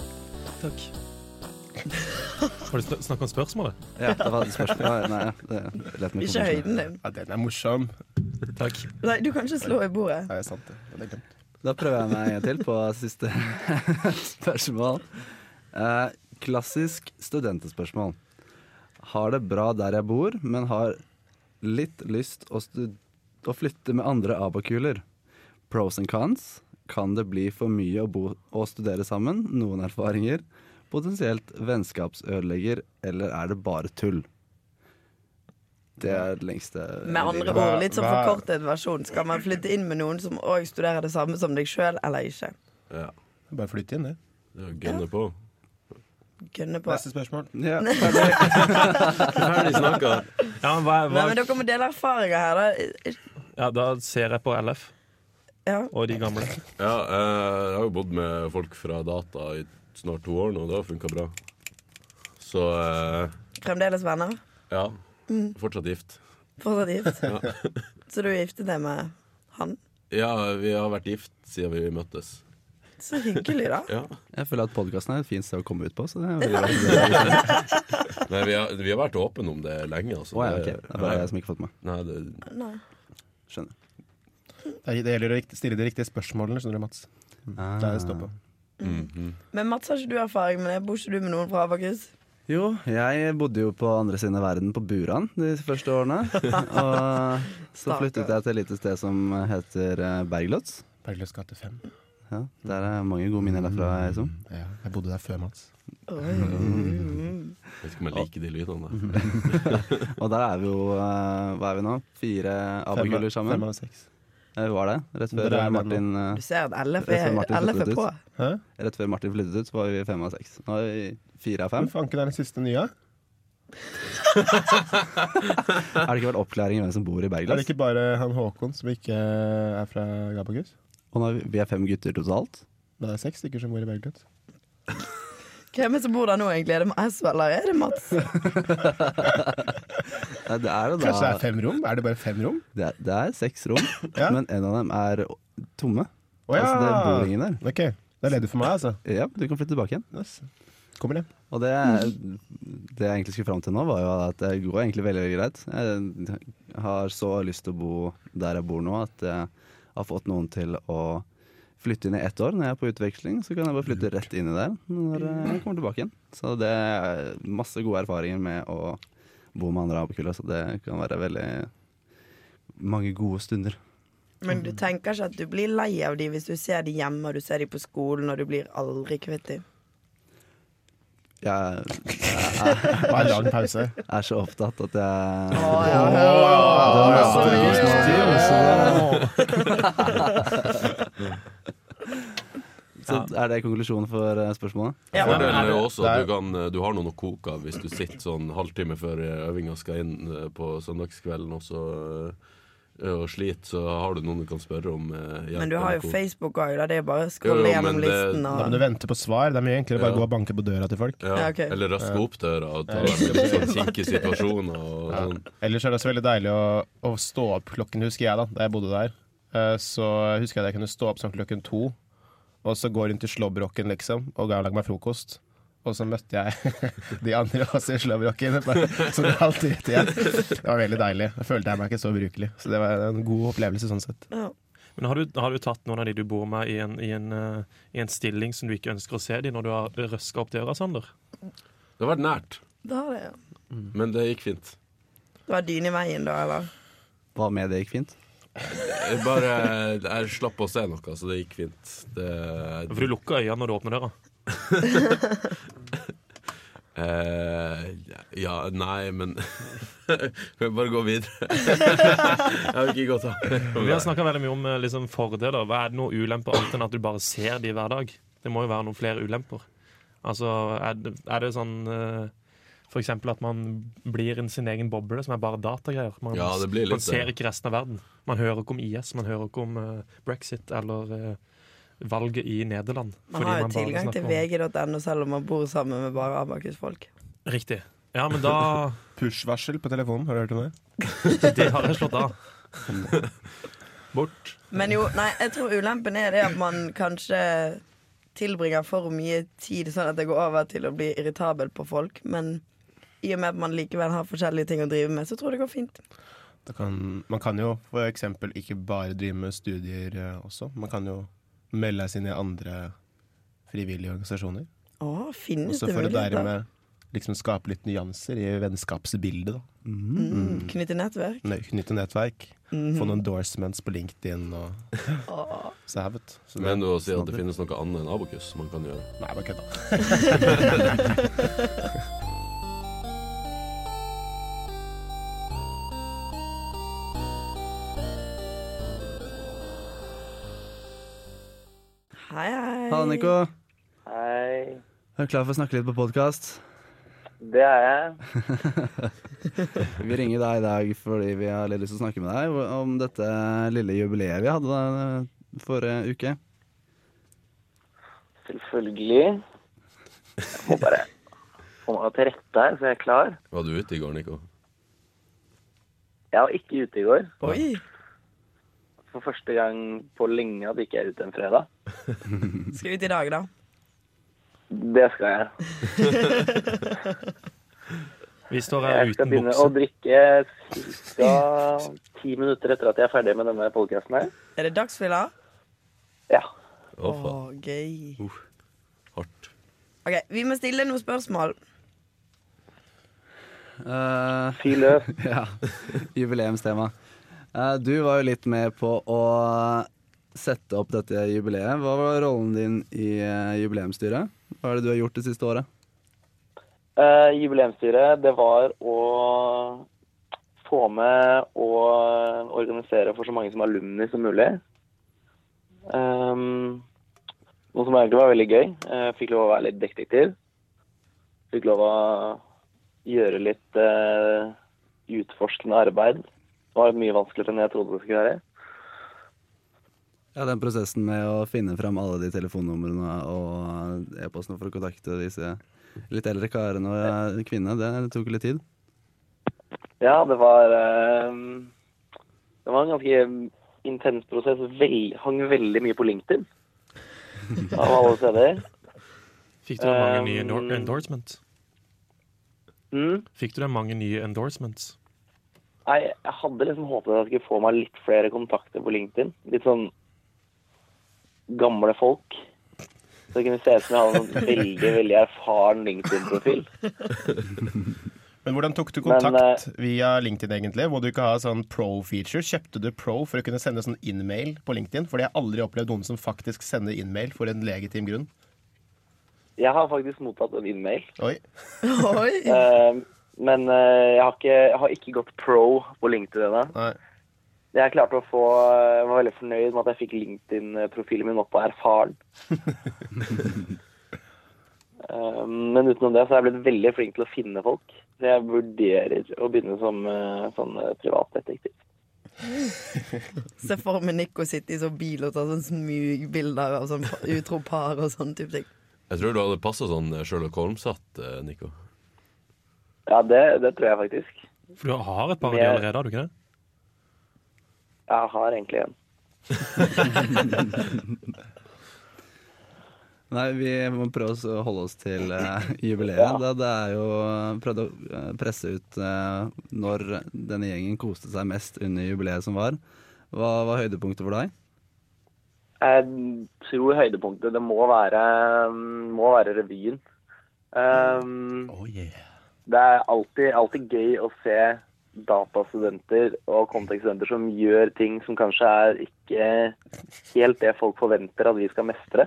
S3: Takk. Har du sn- snakket om spørsmålet?
S1: Ja, det var et spørsmål. Nei, det er lett med
S4: Ikke høyden din.
S5: Ja, den er morsom.
S3: Takk.
S4: Nei, du kan ikke slå i bordet.
S5: Det er sant, det. Det er glemt.
S1: Da prøver jeg meg en gang til på siste *laughs* spørsmål. Eh, klassisk studentespørsmål. Har det bra der jeg bor, men har litt lyst å, stu å flytte med andre abakuler. Pros and cons. Kan det bli for mye å bo og studere sammen? Noen erfaringer. Potensielt vennskapsødelegger, eller er det bare tull? Det er det lengste
S4: Med andre
S5: Hva-
S4: ord, litt sånn
S5: hva-
S4: forkortet versjon. Skal man flytte inn med noen som òg studerer det samme som deg sjøl, eller ikke?
S2: Ja.
S5: Bare flytt inn, det.
S2: Det er å gønne på.
S4: Gønne på.
S5: Neste spørsmål.
S1: Ja.
S2: Ferdig snakka.
S3: Ja, men hva,
S4: Nei, men
S3: hva,
S4: dere må dele erfaringer her, da.
S3: ja, da ser jeg på LF
S4: Ja.
S3: og de gamle.
S2: Ja, eh, jeg har jo bodd med folk fra data i snart to år nå, og det har funka bra. Så eh,
S4: Fremdeles venner?
S2: ja. Fortsatt gift.
S4: Fortsatt gift? Så du giftet deg med han?
S2: Ja, vi har vært gift siden vi møttes.
S4: Så hyggelig, da.
S2: Ja.
S1: Jeg føler at podkasten er et fint sted å komme ut på. Så det er veldig bra.
S2: Nei, vi har, vi har vært åpne om det lenge, altså.
S1: Å ja, ok.
S2: Det-
S1: Det er bare jeg som ikke har fått med meg.
S2: Nei, det,
S4: Nei.
S1: Skjønner.
S5: Det er- det gjelder å rikt- stille de riktige spørsmålene, skjønner du, Mats. Mm. Det er det det står
S1: Ah.
S5: på.
S4: Men Mats, har ikke du erfaring med det? Bor ikke du med noen fra Abakus?
S1: Jo, jeg bodde jo på andre siden av verden, på Buran, de første
S5: *laughs*
S1: årene. Og så flyttet jeg til et lite sted som heter eh, Bergljot.
S5: Bergløs gate 5.
S1: Ja, der er mange gode minner derfra.
S5: Mm.
S1: Liksom.
S5: Ja, jeg bodde der før, Mats.
S2: Mm. jeg vet ikke om jeg liker de lydene der.
S1: Og der er vi jo eh, hva er vi nå? fire abakuler
S5: Fem
S1: sammen.
S5: av seks.
S1: Eh, Vi var det. Rett før,
S5: Dere er der
S1: Martin, eh,
S4: Du ser at E- LF
S1: Jeg
S4: er,
S1: ser Martin
S4: LF
S1: flyttet
S4: er
S1: ut.
S4: på.
S5: Hæ?
S1: rett før Martin flyttet ut, så var vi fem av seks. Nå er vi fire av
S5: *laughs* Hvem
S1: fem.
S5: fanken er den siste nye?
S1: Er det ikke vært oppklaring i hvem som bor i
S5: Er det
S1: Bergljot?
S5: ikke bare han Håkon som ikke er fra Gabakus?
S1: Og nå er vi, vi er fem gutter totalt.
S5: Men det er seks stykker som bor i Bergløs.
S4: Hvem er det som bor der nå, egentlig? Er det Mats, eller er det Mats?
S1: Nei, Det er jo
S5: Kanskje det
S1: da
S5: er fem rom? Er det bare fem rom?
S1: Det er, det er seks rom,
S5: *laughs* Ja.
S1: men en av dem er tomme.
S5: Å ja!
S1: Altså, det bor ingen der.
S5: Ok, det er ledig for meg, altså.
S1: Ja, du kan flytte tilbake igjen.
S5: Yes. Kommer det.
S1: Og det,
S5: Mm.
S1: det jeg egentlig skulle fram til nå, var jo at det går egentlig veldig, veldig greit. Jeg har så lyst til å bo der jeg bor nå, at jeg har fått noen til å flytte inn i ett år når jeg er på utveksling. Så kan jeg bare flytte rett inn i der når jeg kommer tilbake igjen. Så det er masse gode erfaringer med å bo med andre apekuller, så det kan være veldig mange gode stunder.
S4: Men du tenker ikke at du blir lei av de hvis du ser de hjemme, og du ser de på skolen, og du blir aldri kvitt de.
S1: Jeg
S5: Bare en lang
S1: *laughs*
S5: pause.
S1: er så opptatt at jeg
S4: Å, ja, ja, ja.
S1: Så mye. Så er det konklusjonen for eh, spørsmålet?
S4: Ja, men-
S2: Fordelen er jo også at
S5: det
S2: du, kan, eh, du har noen å koke av hvis du sitter sånn halvtime før øvinga skal inn eh, på søndagskvelden og så eh, og sliter, så har du noen du kan spørre om eh, hjelp.
S4: Men du har
S2: eller
S4: jo
S2: hvor-
S4: Facebook òg, da. Det er bare å
S2: Jo,
S4: scrolle
S2: jo,
S4: gjennom
S2: men det-
S4: listen
S5: Da må du
S4: og
S5: vente på svar. Det er mye enklere å bare
S2: Ja.
S5: gå og banke på døra til folk.
S2: Ja,
S4: Ja, ok.
S2: Eller raske opp døra og ta dem i litt sånn kinkige situasjoner. Og sånn.
S5: Ellers er det også veldig deilig å, å stå opp klokken, husker jeg, da da jeg bodde der. eh, så husker jeg at jeg kunne stå opp sånn klokken to, og så gå rundt i slåbroken, liksom, og ga og lage meg frokost. Og så møtte jeg *laughs* de andre også i slåbroken, *laughs* bare- så det var alltid rett igjen. Det var veldig deilig. Da følte jeg meg ikke så ubrukelig. Så det var en god opplevelse sånn sett.
S4: Ja.
S3: Men har du, har du tatt noen av de du bor med, i en, i en, eh, i en stilling som du ikke ønsker å se de når du har røska opp døra, Sander?
S2: Det har vært nært,
S4: Da har det, ja.
S2: men det gikk fint.
S4: det var dyne i veien da, eller?
S1: Hva med det gikk fint?
S2: Jeg bare jeg slapp å se noe, så det gikk fint. Det,
S3: For du lukker øynene når du åpner døra.
S2: eh, ja, nei, men *laughs* Kan vi bare gå videre? *laughs* jeg har ikke gått av.
S3: Vi har snakka veldig mye om eh, liksom, fordeler. Hva er det noen ulemper annet enn at du bare ser de hver dag? Det må jo være noen flere ulemper. Altså, er det, er det sånn eh, for eksempel at man blir en sin egen boble, som er bare datagreier. Man,
S2: Ja, det blir litt
S3: man ser
S2: det.
S3: ikke resten av verden. Man hører ikke om IS, man hører ikke om eh, brexit eller eh, valget i Nederland.
S4: Man
S3: fordi
S4: har jo
S3: bare
S4: tilgang til
S3: snakker om-
S4: vg.no selv om man bor sammen med bare Abakus-folk.
S3: Riktig. Ja, men da
S5: Push-varsel på telefonen, har du hørt om det?
S3: Det har jeg slått av. Bort.
S4: Men jo, nei, jeg tror ulempen er det at man kanskje tilbringer for mye tid, sånn at det går over til å bli irritabel på folk. Men i og med at man likevel har forskjellige ting å drive med, så tror jeg det går fint.
S5: Da kan, man kan jo for eksempel ikke bare drive med studier eh, også. Man kan jo melde seg inn i andre frivillige organisasjoner.
S4: Å, finnes
S5: Også
S4: det
S5: for å
S4: muligheter?
S5: dermed liksom skape litt nyanser i vennskapsbildet. da.
S4: Mm, knytte nettverk?
S5: Nø- Knytte nettverk,
S6: Mhm.
S5: få noen endorsements på LinkedIn og
S4: Å,
S5: så her, vet Så det-
S2: Men du sier at
S5: sånn
S2: det finnes noe annet enn abokus man kan gjøre?
S5: Nei, bare kødda.
S4: hei, hei.
S1: Halla, Nico.
S6: Hei.
S1: Er du klar for å snakke litt på podkast?
S6: Det er jeg.
S1: Vi ringer deg i dag fordi vi har litt lyst til å snakke med deg om dette lille jubileet vi hadde da eh, forrige uke.
S6: Selvfølgelig. Jeg må bare få meg til rette her, så jeg er klar.
S2: Var du ute i går, Nico?
S6: Jeg var ikke ute i går.
S4: Oi.
S6: For første gang på lenge at jeg ikke er ute en fredag.
S4: Skal vi ut i dag, da?
S6: Det skal jeg.
S3: Vi står her
S6: Jeg skal
S3: uten
S6: begynne å
S3: bukse.
S6: drikke ca. ti minutter etter at jeg er ferdig med denne podkasten her.
S4: Er det dagsfylla?
S6: Ja.
S2: Å,
S4: Å,
S2: faen.
S4: gøy.
S2: Hardt.
S4: OK, vi må stille noen spørsmål. *laughs*
S1: Eh,
S6: Fy løs.
S1: *laughs* Ja, jubileumstema. Eh, Du var jo litt med på å sette opp dette jubileet. Hva var rollen din i eh, jubileumsstyret? Hva er det du har gjort det siste året?
S6: Eh, jubileumsstyret, det var å få med og organisere for så mange som alumni som mulig. Ehm, noe som egentlig var veldig gøy. Eh, fikk lov å være litt detektiv. Fikk lov å gjøre litt eh, utforskende arbeid. Det var mye vanskeligere enn jeg trodde det skulle være.
S1: Ja, Den prosessen med å finne fram alle de telefonnumrene og e-postene for å kontakte disse litt eldre karene og eh, kvinnene, det tok litt tid.
S6: Ja, det var ehm, Det var en ganske intens prosess. Vel, hang veldig mye på LinkedIn. Av alle steder.
S3: Fikk du deg mange nye
S6: Um,
S3: endor- endorsements?
S6: Mm.
S3: Fikk du deg mange nye endorsements?
S6: Nei, jeg hadde liksom håpet at jeg skulle få meg litt flere kontakter på LinkedIn. Litt sånn gamle folk. Så det kunne se ut som jeg hadde en sånn veldig, veldig erfaren LinkedIn-profil.
S5: Men hvordan tok du
S6: Men, eh,
S5: kontakt via LinkedIn, egentlig? Må du ikke ha sånn pro-feature? Kjøpte du pro for å kunne sende sånn in-mail på LinkedIn? For jeg har aldri opplevd noen som faktisk sender in-mail for en legitim grunn.
S6: Jeg har faktisk mottatt en innmail.
S5: Oi.
S4: Oi.
S6: Eh, men eh, jeg, har ikke, jeg har ikke gått pro på LinkedIn ennå.
S5: Nei.
S6: Jeg klarte å få, jeg var veldig fornøyd med at jeg fikk LinkedIn-profilen min opp på erfaren. Eh, Men utenom det så er jeg blitt veldig flink til å finne folk. Så jeg vurderer å begynne som eh, sånn eh, privatdetektiv.
S4: Se for meg Nico sitte i sånn bil og ta sånn smugbilder av sånn utro par og sånn type ting.
S2: Jeg tror du hadde passa sånn Sherlock Holmes-hatt, eh, Nico.
S6: Ja, det, det tror jeg faktisk.
S3: For du har et par av de
S6: Med-
S3: allerede, har du ikke det?
S6: Jeg har egentlig en.
S1: Nei, vi må prøve oss å holde oss til eh, jubileet. Da det er jo prøvd å eh, presse ut eh, når denne gjengen koste seg mest under jubileet som var. Hva var høydepunktet for deg?
S6: Jeg tror høydepunktet det må være, mm, må være revyen. Um,
S1: Oh yeah.
S6: Det er alltid, alltid gøy å se datastudenter og kontekststudenter som gjør ting som kanskje er ikke helt det folk forventer at vi skal mestre.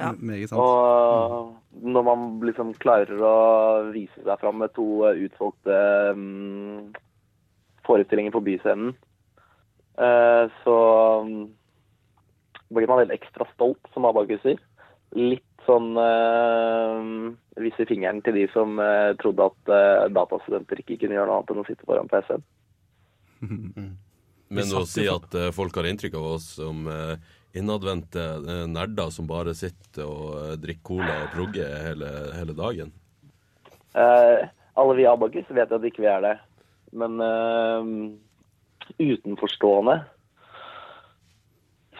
S4: Ja.
S1: Meget sant.
S6: Og når man liksom klarer å vise seg fram med to eh, utvalgte mm, forestillinger på byscenen, eh, så mm, blir man veldig ekstra stolt, som Abakus sier. Litt sånn eh, vise fingeren til de som eh, trodde at eh, datastudenter ikke kunne gjøre noe annet enn å sitte foran PC-en.
S2: Men
S3: Vi
S2: å
S3: satt
S2: si
S3: jo
S2: at eh, folk har inntrykk av oss som eh, innadvendte eh, nerder som bare sitter og eh, drikker cola og progger hele, hele dagen.
S6: Eh, alle vi Abakus vet at ikke vi er det. Men eh, utenforstående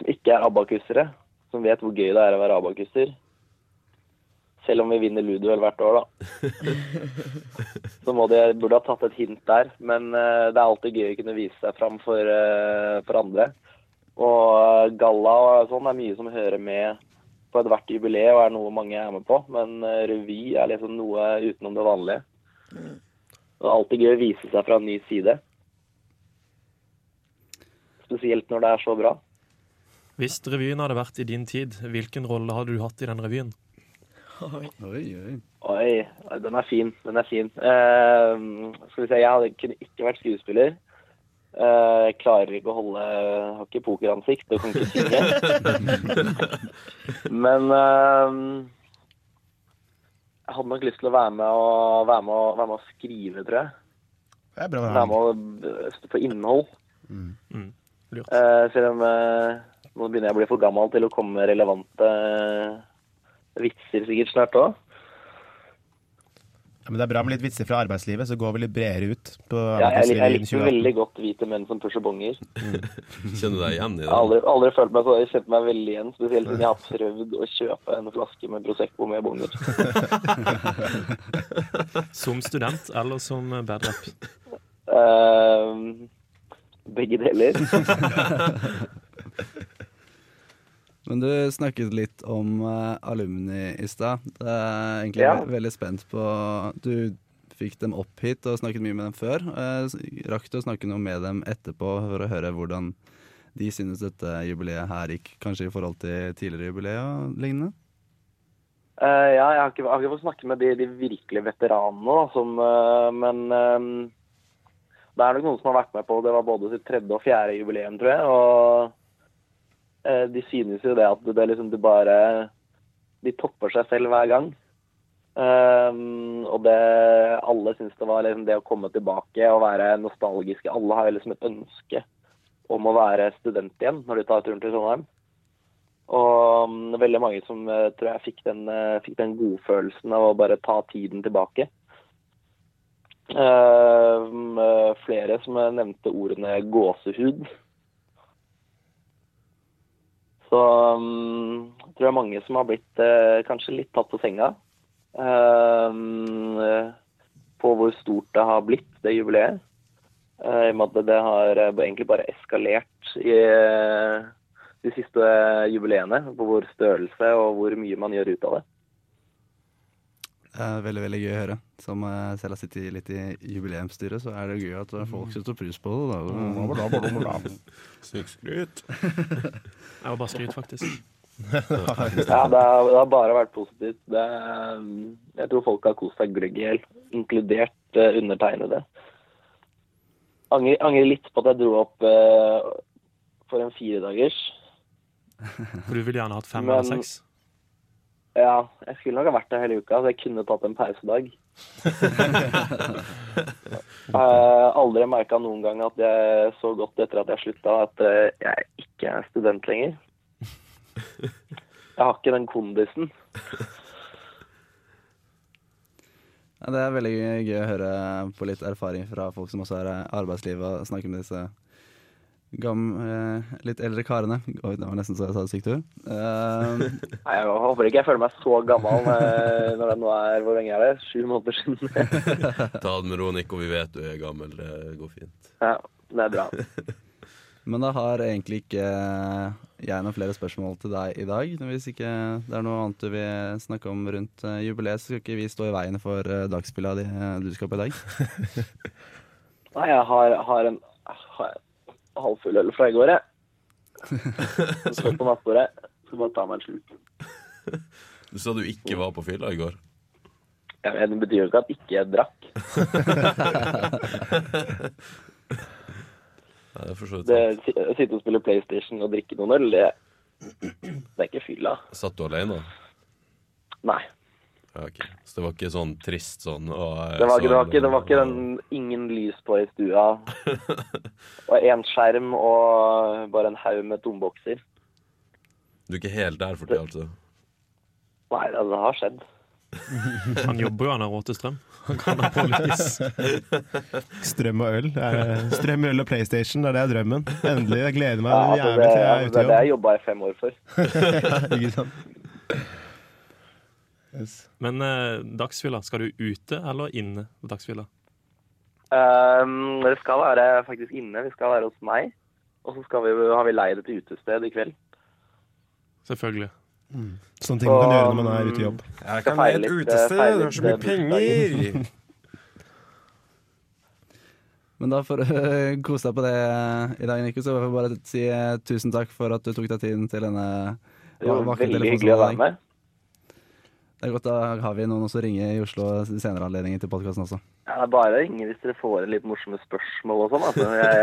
S6: som ikke er abakusere, som vet hvor gøy det er å være abakuser Selv om vi vinner Luduel hvert år, da. Så må de, burde ha tatt et hint der. Men eh, det er alltid gøy å kunne vise seg fram for, eh, for andre. Og galla og sånn er mye som hører med på ethvert jubileum og er noe mange er med på, men eh, revy er liksom noe utenom det vanlige. Det er alltid gøy å vise seg fra en ny side. Spesielt når det er så bra.
S3: Hvis revyen hadde vært i din tid, hvilken rolle hadde du hatt i den revyen?
S1: Oi, oi.
S6: Oi, oi, den er fin. Den er fin. Eh, skal vi se, jeg hadde, kunne ikke vært skuespiller. Eh, jeg klarer ikke å holde Har ikke pokeransikt og kan ikke synge. Men eh, jeg hadde nok lyst til å være med og, være med og, være med og skrive, tror jeg.
S5: Det er bra.
S6: Være
S5: Harald.
S6: med og stå for innhold.
S3: Mm, Lurt.
S6: Eh, selv om eh, nå begynner jeg å bli for gammel til å komme med relevante eh, vitser sikkert snart òg.
S5: Ja, men det er bra med litt vitser fra arbeidslivet, så går vi litt bredere ut. på
S6: Ja, jeg, jeg
S5: arbeidslivet innen
S6: likte
S5: 2018.
S6: veldig godt hvite menn som pusher bonger. Jeg
S2: Kjenner du deg igjen i
S6: *laughs* har
S2: det?
S6: aldri, aldri følt meg så jeg kjente meg veldig igjen, spesielt siden jeg har prøvd å kjøpe en flaske med Prosecco med bonger.
S3: Som student eller som bad rap?
S6: Eh, begge deler.
S1: Men du snakket litt om eh, alumni i stad. Jeg er egentlig
S6: Ja.
S1: ve- veldig spent på Du fikk dem opp hit og snakket mye med dem før. Eh, s- Rakk du å snakke noe med dem etterpå for å høre hvordan de synes dette jubileet her gikk, kanskje i forhold til tidligere jubileer og lignende?
S6: Eh, ja, jeg har, ikke, jeg har ikke fått snakke med de, de virkelige veteranene, da, som, eh, men eh, det er nok noen som har vært med på det var både sitt tredje og fjerde jubileum, tror jeg. Og eh, de synes jo det at det, liksom, det bare De topper seg selv hver gang. Eh, og det alle syns det var liksom, det å komme tilbake og være nostalgiske. Alle har jo liksom et ønske om å være student igjen når de tar turen til Trondheim. Og mm, veldig mange som eh, tror jeg fikk den, eh, fikk den godfølelsen av å bare ta tiden tilbake. Eh, mm, eh, flere som eh, nevnte ordene gåsehud. Så mm, jeg tror jeg mange som har blitt eh, kanskje litt tatt på senga. eh, mm, eh, på hvor stort det har blitt, det jubileet. Eh, I og med at det har eh, egentlig bare eskalert i eh, de siste eh, jubileene, på hvor størrelse og hvor mye man gjør ut av det.
S1: Det er veldig veldig gøy å høre. Som eh, selv har sittet litt i jubileumsstyret, så er det gøy at det er folk som står pris på det. Da.
S5: Bla, bla, bla, bla, bla.
S2: Sykt skryt.
S3: Jeg var bare skryt, faktisk.
S6: Ja, det, har, det har bare vært positivt. Det, er, mm, jeg tror folk har kost seg gløgg i hjel, inkludert eh, undertegnede. Angrer, angrer litt på at jeg dro opp eh, for en firedagers.
S3: For du ville gjerne hatt fem
S6: Men-
S3: eller seks.
S6: Ja, jeg skulle nok ha vært der hele uka, så jeg kunne tatt en pausedag. Jeg har aldri merka noen gang at jeg så godt etter at jeg slutta at eh, jeg ikke er student lenger. Jeg har ikke den kondisen.
S1: Ja, det er veldig eh, gøy å høre på litt erfaring fra folk som også er i arbeidslivet og snakke med disse gam, eh, litt eldre karene. Oi, det var nesten så jeg sa det sykt ord. Eh,
S6: Nei, jeg håper ikke jeg føler meg så gammel eh, når det nå er Hvor lenge er det? Sju måneder siden. *laughs*
S2: Ta det med ro, Nico. Vi vet du er gammel. Det går fint.
S6: ja, det er bra.
S1: men da har egentlig ikke jeg noen flere spørsmål til deg i dag. Hvis ikke det er noe annet du vil snakke om rundt eh, jubileet, så skal ikke vi stå i veien for eh, dagsspilla di eh, du skal på i dag.
S6: Nei, jeg har, har en har en halvfull øl fra i går, jeg. Den står på nattbordet. Skal bare ta meg en slurk.
S2: Du sa du ikke var på fylla i går.
S6: Ja, men Det betyr jo ikke at ikke jeg drakk.
S2: Nei, det er for så vidt
S6: Det,
S2: sant.
S6: si- å sitte og spille PlayStation og drikke noen øl, det, det er ikke fylla.
S2: Satt du alene?
S6: Nei.
S2: Ja, ok. Så det var ikke sånn trist sånn og, eh,
S6: Det var, ikke- det var,
S2: sånn,
S6: ikke, det var ikke den ingen lys på i stua, og én skjerm og bare en haug med tombokser.
S2: Du er ikke helt der for tida, altså?
S6: Nei, det, det har skjedd.
S3: Han jobber jo, han har råd til strøm.
S5: Strøm og øl.
S6: *laughs*
S5: eh, Strøm, øl og PlayStation, det er det er drømmen. Endelig. Jeg gleder meg
S6: Ja, altså,
S5: jævlig
S6: det,
S5: til jeg er
S6: det
S5: ute
S6: er det
S5: i
S6: jeg jobba i fem år for.
S5: *laughs* jobb. Ikke sant? Yes.
S3: Men eh, dagsfylla, skal du ute eller inne på dagsfylla?
S6: Um, dere skal være faktisk inne. Vi skal være hos meg. Og så skal vi, har vi leid et utested i kveld.
S3: Selvfølgelig.
S5: Sånne ting man kan gjøre når man er ute i jobb.
S6: ehm,
S7: Jeg
S6: kan leie et utested, eh, det er så mye
S7: penger!
S1: Men da får du eh, kose deg på det eh, i dag, Nico. Så får jeg bare si eh, tusen takk for at du tok deg tiden til denne
S6: Det var
S1: vakre
S6: veldig
S1: telefonsamtalen
S6: hyggelig å
S1: i
S6: være
S1: dag.
S6: med.
S1: Det er godt da har vi noen også å ringe i Oslo i senere anledninger til podkasten også.
S6: Ja, det er bare å ringe hvis dere får inn litt morsomme spørsmål og sånn. Altså. Jeg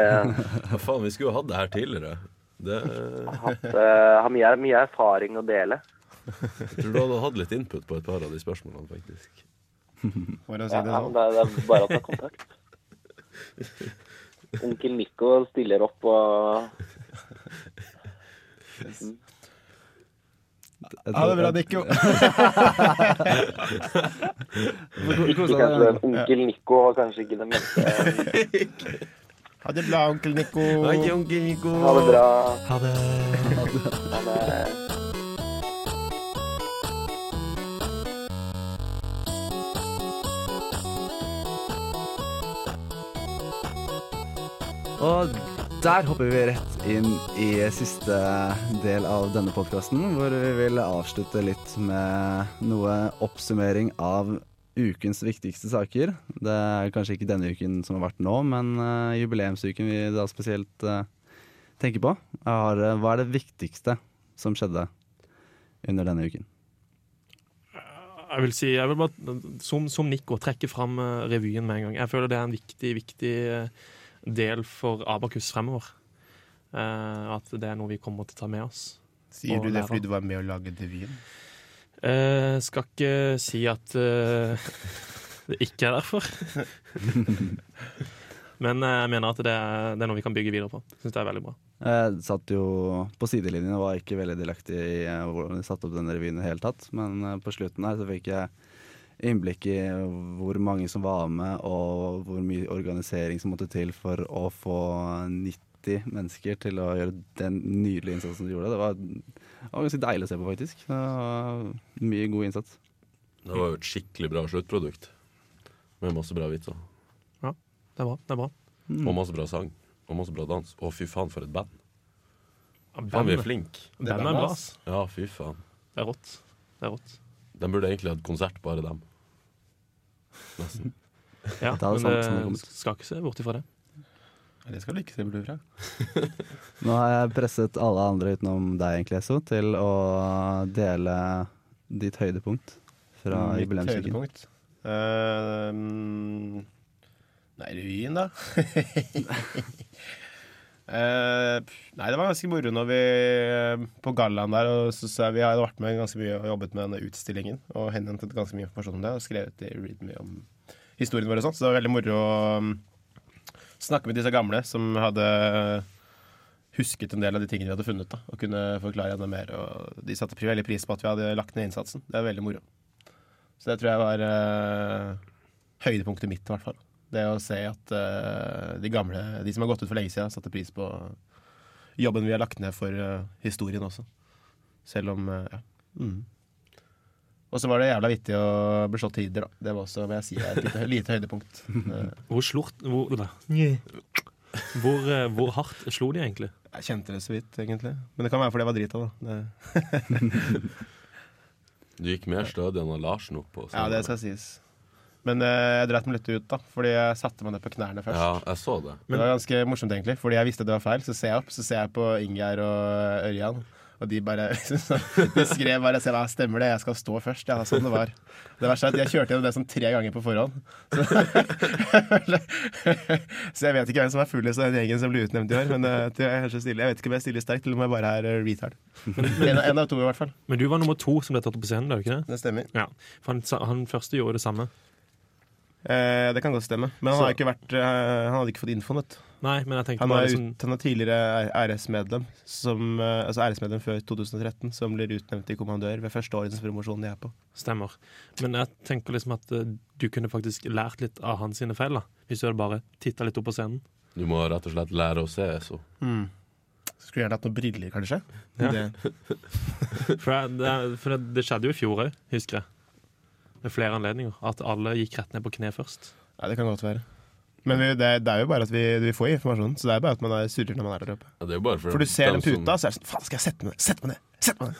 S2: Ja, faen, vi skulle jo hatt det her tidligere. Det, jeg
S6: har hatt, eh, har mye, mye erfaring å dele.
S2: tror du hadde hatt litt input på et par av de spørsmålene, faktisk.
S5: For å si det
S6: Ja, men
S5: sånn.
S6: det, er- det er bare å ta
S5: *laughs*
S6: kontakt. Onkel Nico stiller opp og
S1: Jeg
S5: Ha det bra,
S1: tror-
S5: Nico.
S1: Får ko-
S6: Ikke
S1: kose deg.
S6: kanskje den Onkel Nico var kanskje ikke den beste.
S5: Ha det bra, onkel Nico.
S6: Ha det bra.
S3: Ha det.
S6: Ha det.
S1: Og der hopper vi rett inn i siste del av denne podkasten, hvor vi vil avslutte litt med noe oppsummering av ukens viktigste saker. Det er kanskje ikke denne uken som har vært nå, men eh, jubileumsuken vi da spesielt eh, tenker på. Er, eh, hva er det viktigste som skjedde under denne uken?
S3: Jeg vil si, jeg vil bare, som, som Nico, trekke fram eh, revyen med en gang. Jeg føler det er en viktig, viktig eh, del for Abakus fremover. Eh, at det er noe vi kommer til å ta med oss.
S5: Sier du det fordi du var med å lage revyen?
S3: Eh, skal ikke si at eh, *laughs* det ikke
S1: *laughs*
S3: er derfor. Men eh, jeg mener at det er, det er noe vi kan bygge videre på. Synes det er veldig bra.
S1: Jeg satt jo på sidelinjen og var ikke veldig delaktig i eh, hvordan de satte opp denne revyen i det hele tatt. Men eh, på slutten her så fikk jeg innblikk i hvor mange som var med, og hvor mye organisering som måtte til for å få 90 mennesker til å gjøre den nydelige innsatsen de gjorde. Det var, det var ganske deilig å se på, faktisk. Det var mye god innsats.
S2: Det var jo et skikkelig bra sluttprodukt. Med masse bra vitser.
S3: Det er bra. det er bra.
S2: Og masse bra sang. Og masse bra dans. Å, fy faen, for et band.
S3: Ja,
S2: Faen, vi er
S3: Bandet
S2: flinke.
S3: bandet er bra. ass.
S2: Ja, fy faen.
S3: Det er rått. Det er rått.
S2: De burde egentlig hatt konsert, bare dem. Nesten.
S3: Ja,
S1: Det er det samme
S3: men
S1: som har
S3: det
S1: kommet.
S3: skal ikke se bort ifra det.
S5: Det skal du ikke se bort fra.
S1: Nå har jeg presset alle andre utenom deg, egentlig, Esso, til å dele ditt høydepunkt fra
S5: Mm, Mitt
S1: jubileumsuken.
S5: høydepunkt. Eh, mm, nei, revyen, da. *laughs* Eh, nei, det var ganske moro når vi eh, på gallaen der og så, så Vi har jo vært med ganske mye og jobbet med denne utstillingen og henhentet ganske mye informasjon om det. Og skrevet i Read Me om historien vår og sånt. Så det var veldig moro å mm, snakke med disse gamle som hadde husket en del av de tingene vi hadde funnet. da Og kunne forklare enda mer. Og de satte veldig pris på at vi hadde lagt ned innsatsen. Det er veldig moro. Så det tror jeg var eh, høydepunktet mitt, i hvert fall. Det å se at eh, de gamle, de som har gått ut for lenge siden, satte pris på jobben vi har lagt ned for eh, historien også. Selv om eh, ja. Mm. Og så var det jævla vittig å bli slått til Idder, da. Det var også, må jeg si, et lite, *laughs* lite høydepunkt. Eh,
S7: Hvor slort Hvor, da. hvor, eh, hvor hardt slo de egentlig?
S5: Jeg kjente det så vidt, egentlig. Men det kan være fordi jeg var drita, da. Det,
S2: Du gikk mer stødig enn han Larsen opp på.
S5: ja, det skal sies. Men eh, jeg dreit meg litt ut, da. Fordi jeg satte meg ned på knærne først.
S2: Ja, jeg så det.
S5: det var ganske morsomt, egentlig. Fordi jeg visste det var feil, så ser jeg opp, så ser jeg på Ingjerd og Ørjan. Og de bare *laughs* de skrev bare selv, ja, stemmer det, jeg skal stå først. Ja, sånn det var. Det verste er at jeg kjørte gjennom det sånn tre ganger på forhånd. Så, *laughs* så jeg vet ikke hvem som er fullest av den gjengen som ble utnevnt i år. Men eh, jeg, er kanskje stille. jeg vet ikke om jeg stiller sterkt, eller om jeg bare er eh, retard. En, av- en av to, i hvert fall.
S7: Men du var nummer to som ble tatt opp på scenen, da, er du ikke det?
S5: Det stemmer.
S7: Ja, for han, sa- han første gjorde det samme.
S5: Eh, det kan godt stemme. Men han, har ikke vært, eh, han hadde ikke fått infoen, vet du.
S7: Nei, men jeg tenkte
S5: Han
S7: bare
S5: er,
S7: liksom,
S5: ut, han er tidligere RS-medlem, som, eh, altså RS-medlem før 2013, som blir utnevnt til kommandør ved første årets promosjon de er på.
S7: Stemmer. Men jeg tenker liksom at eh, du kunne faktisk lært litt av hans sine feil, da. Hvis du hadde bare titta litt opp på scenen.
S2: Du må rett og slett lære å se SO.
S5: Skulle gjerne hatt noen briller, kanskje.
S7: Ja.
S5: Det,
S7: For, jeg, det, er- for det, det skjedde jo i fjor òg, husker jeg. Ved flere anledninger. At alle gikk rett ned på kne først.
S5: ja, det kan godt være. Men vi, det, det er jo bare at vi, vi får informasjon, så det er bare at man er surrer når man er der oppe.
S2: Ja, det er jo bare for,
S5: For du ser den puta,
S2: Som,
S5: så er det sånn Faen, skal jeg sette meg ned? Sett meg ned! Sett meg ned!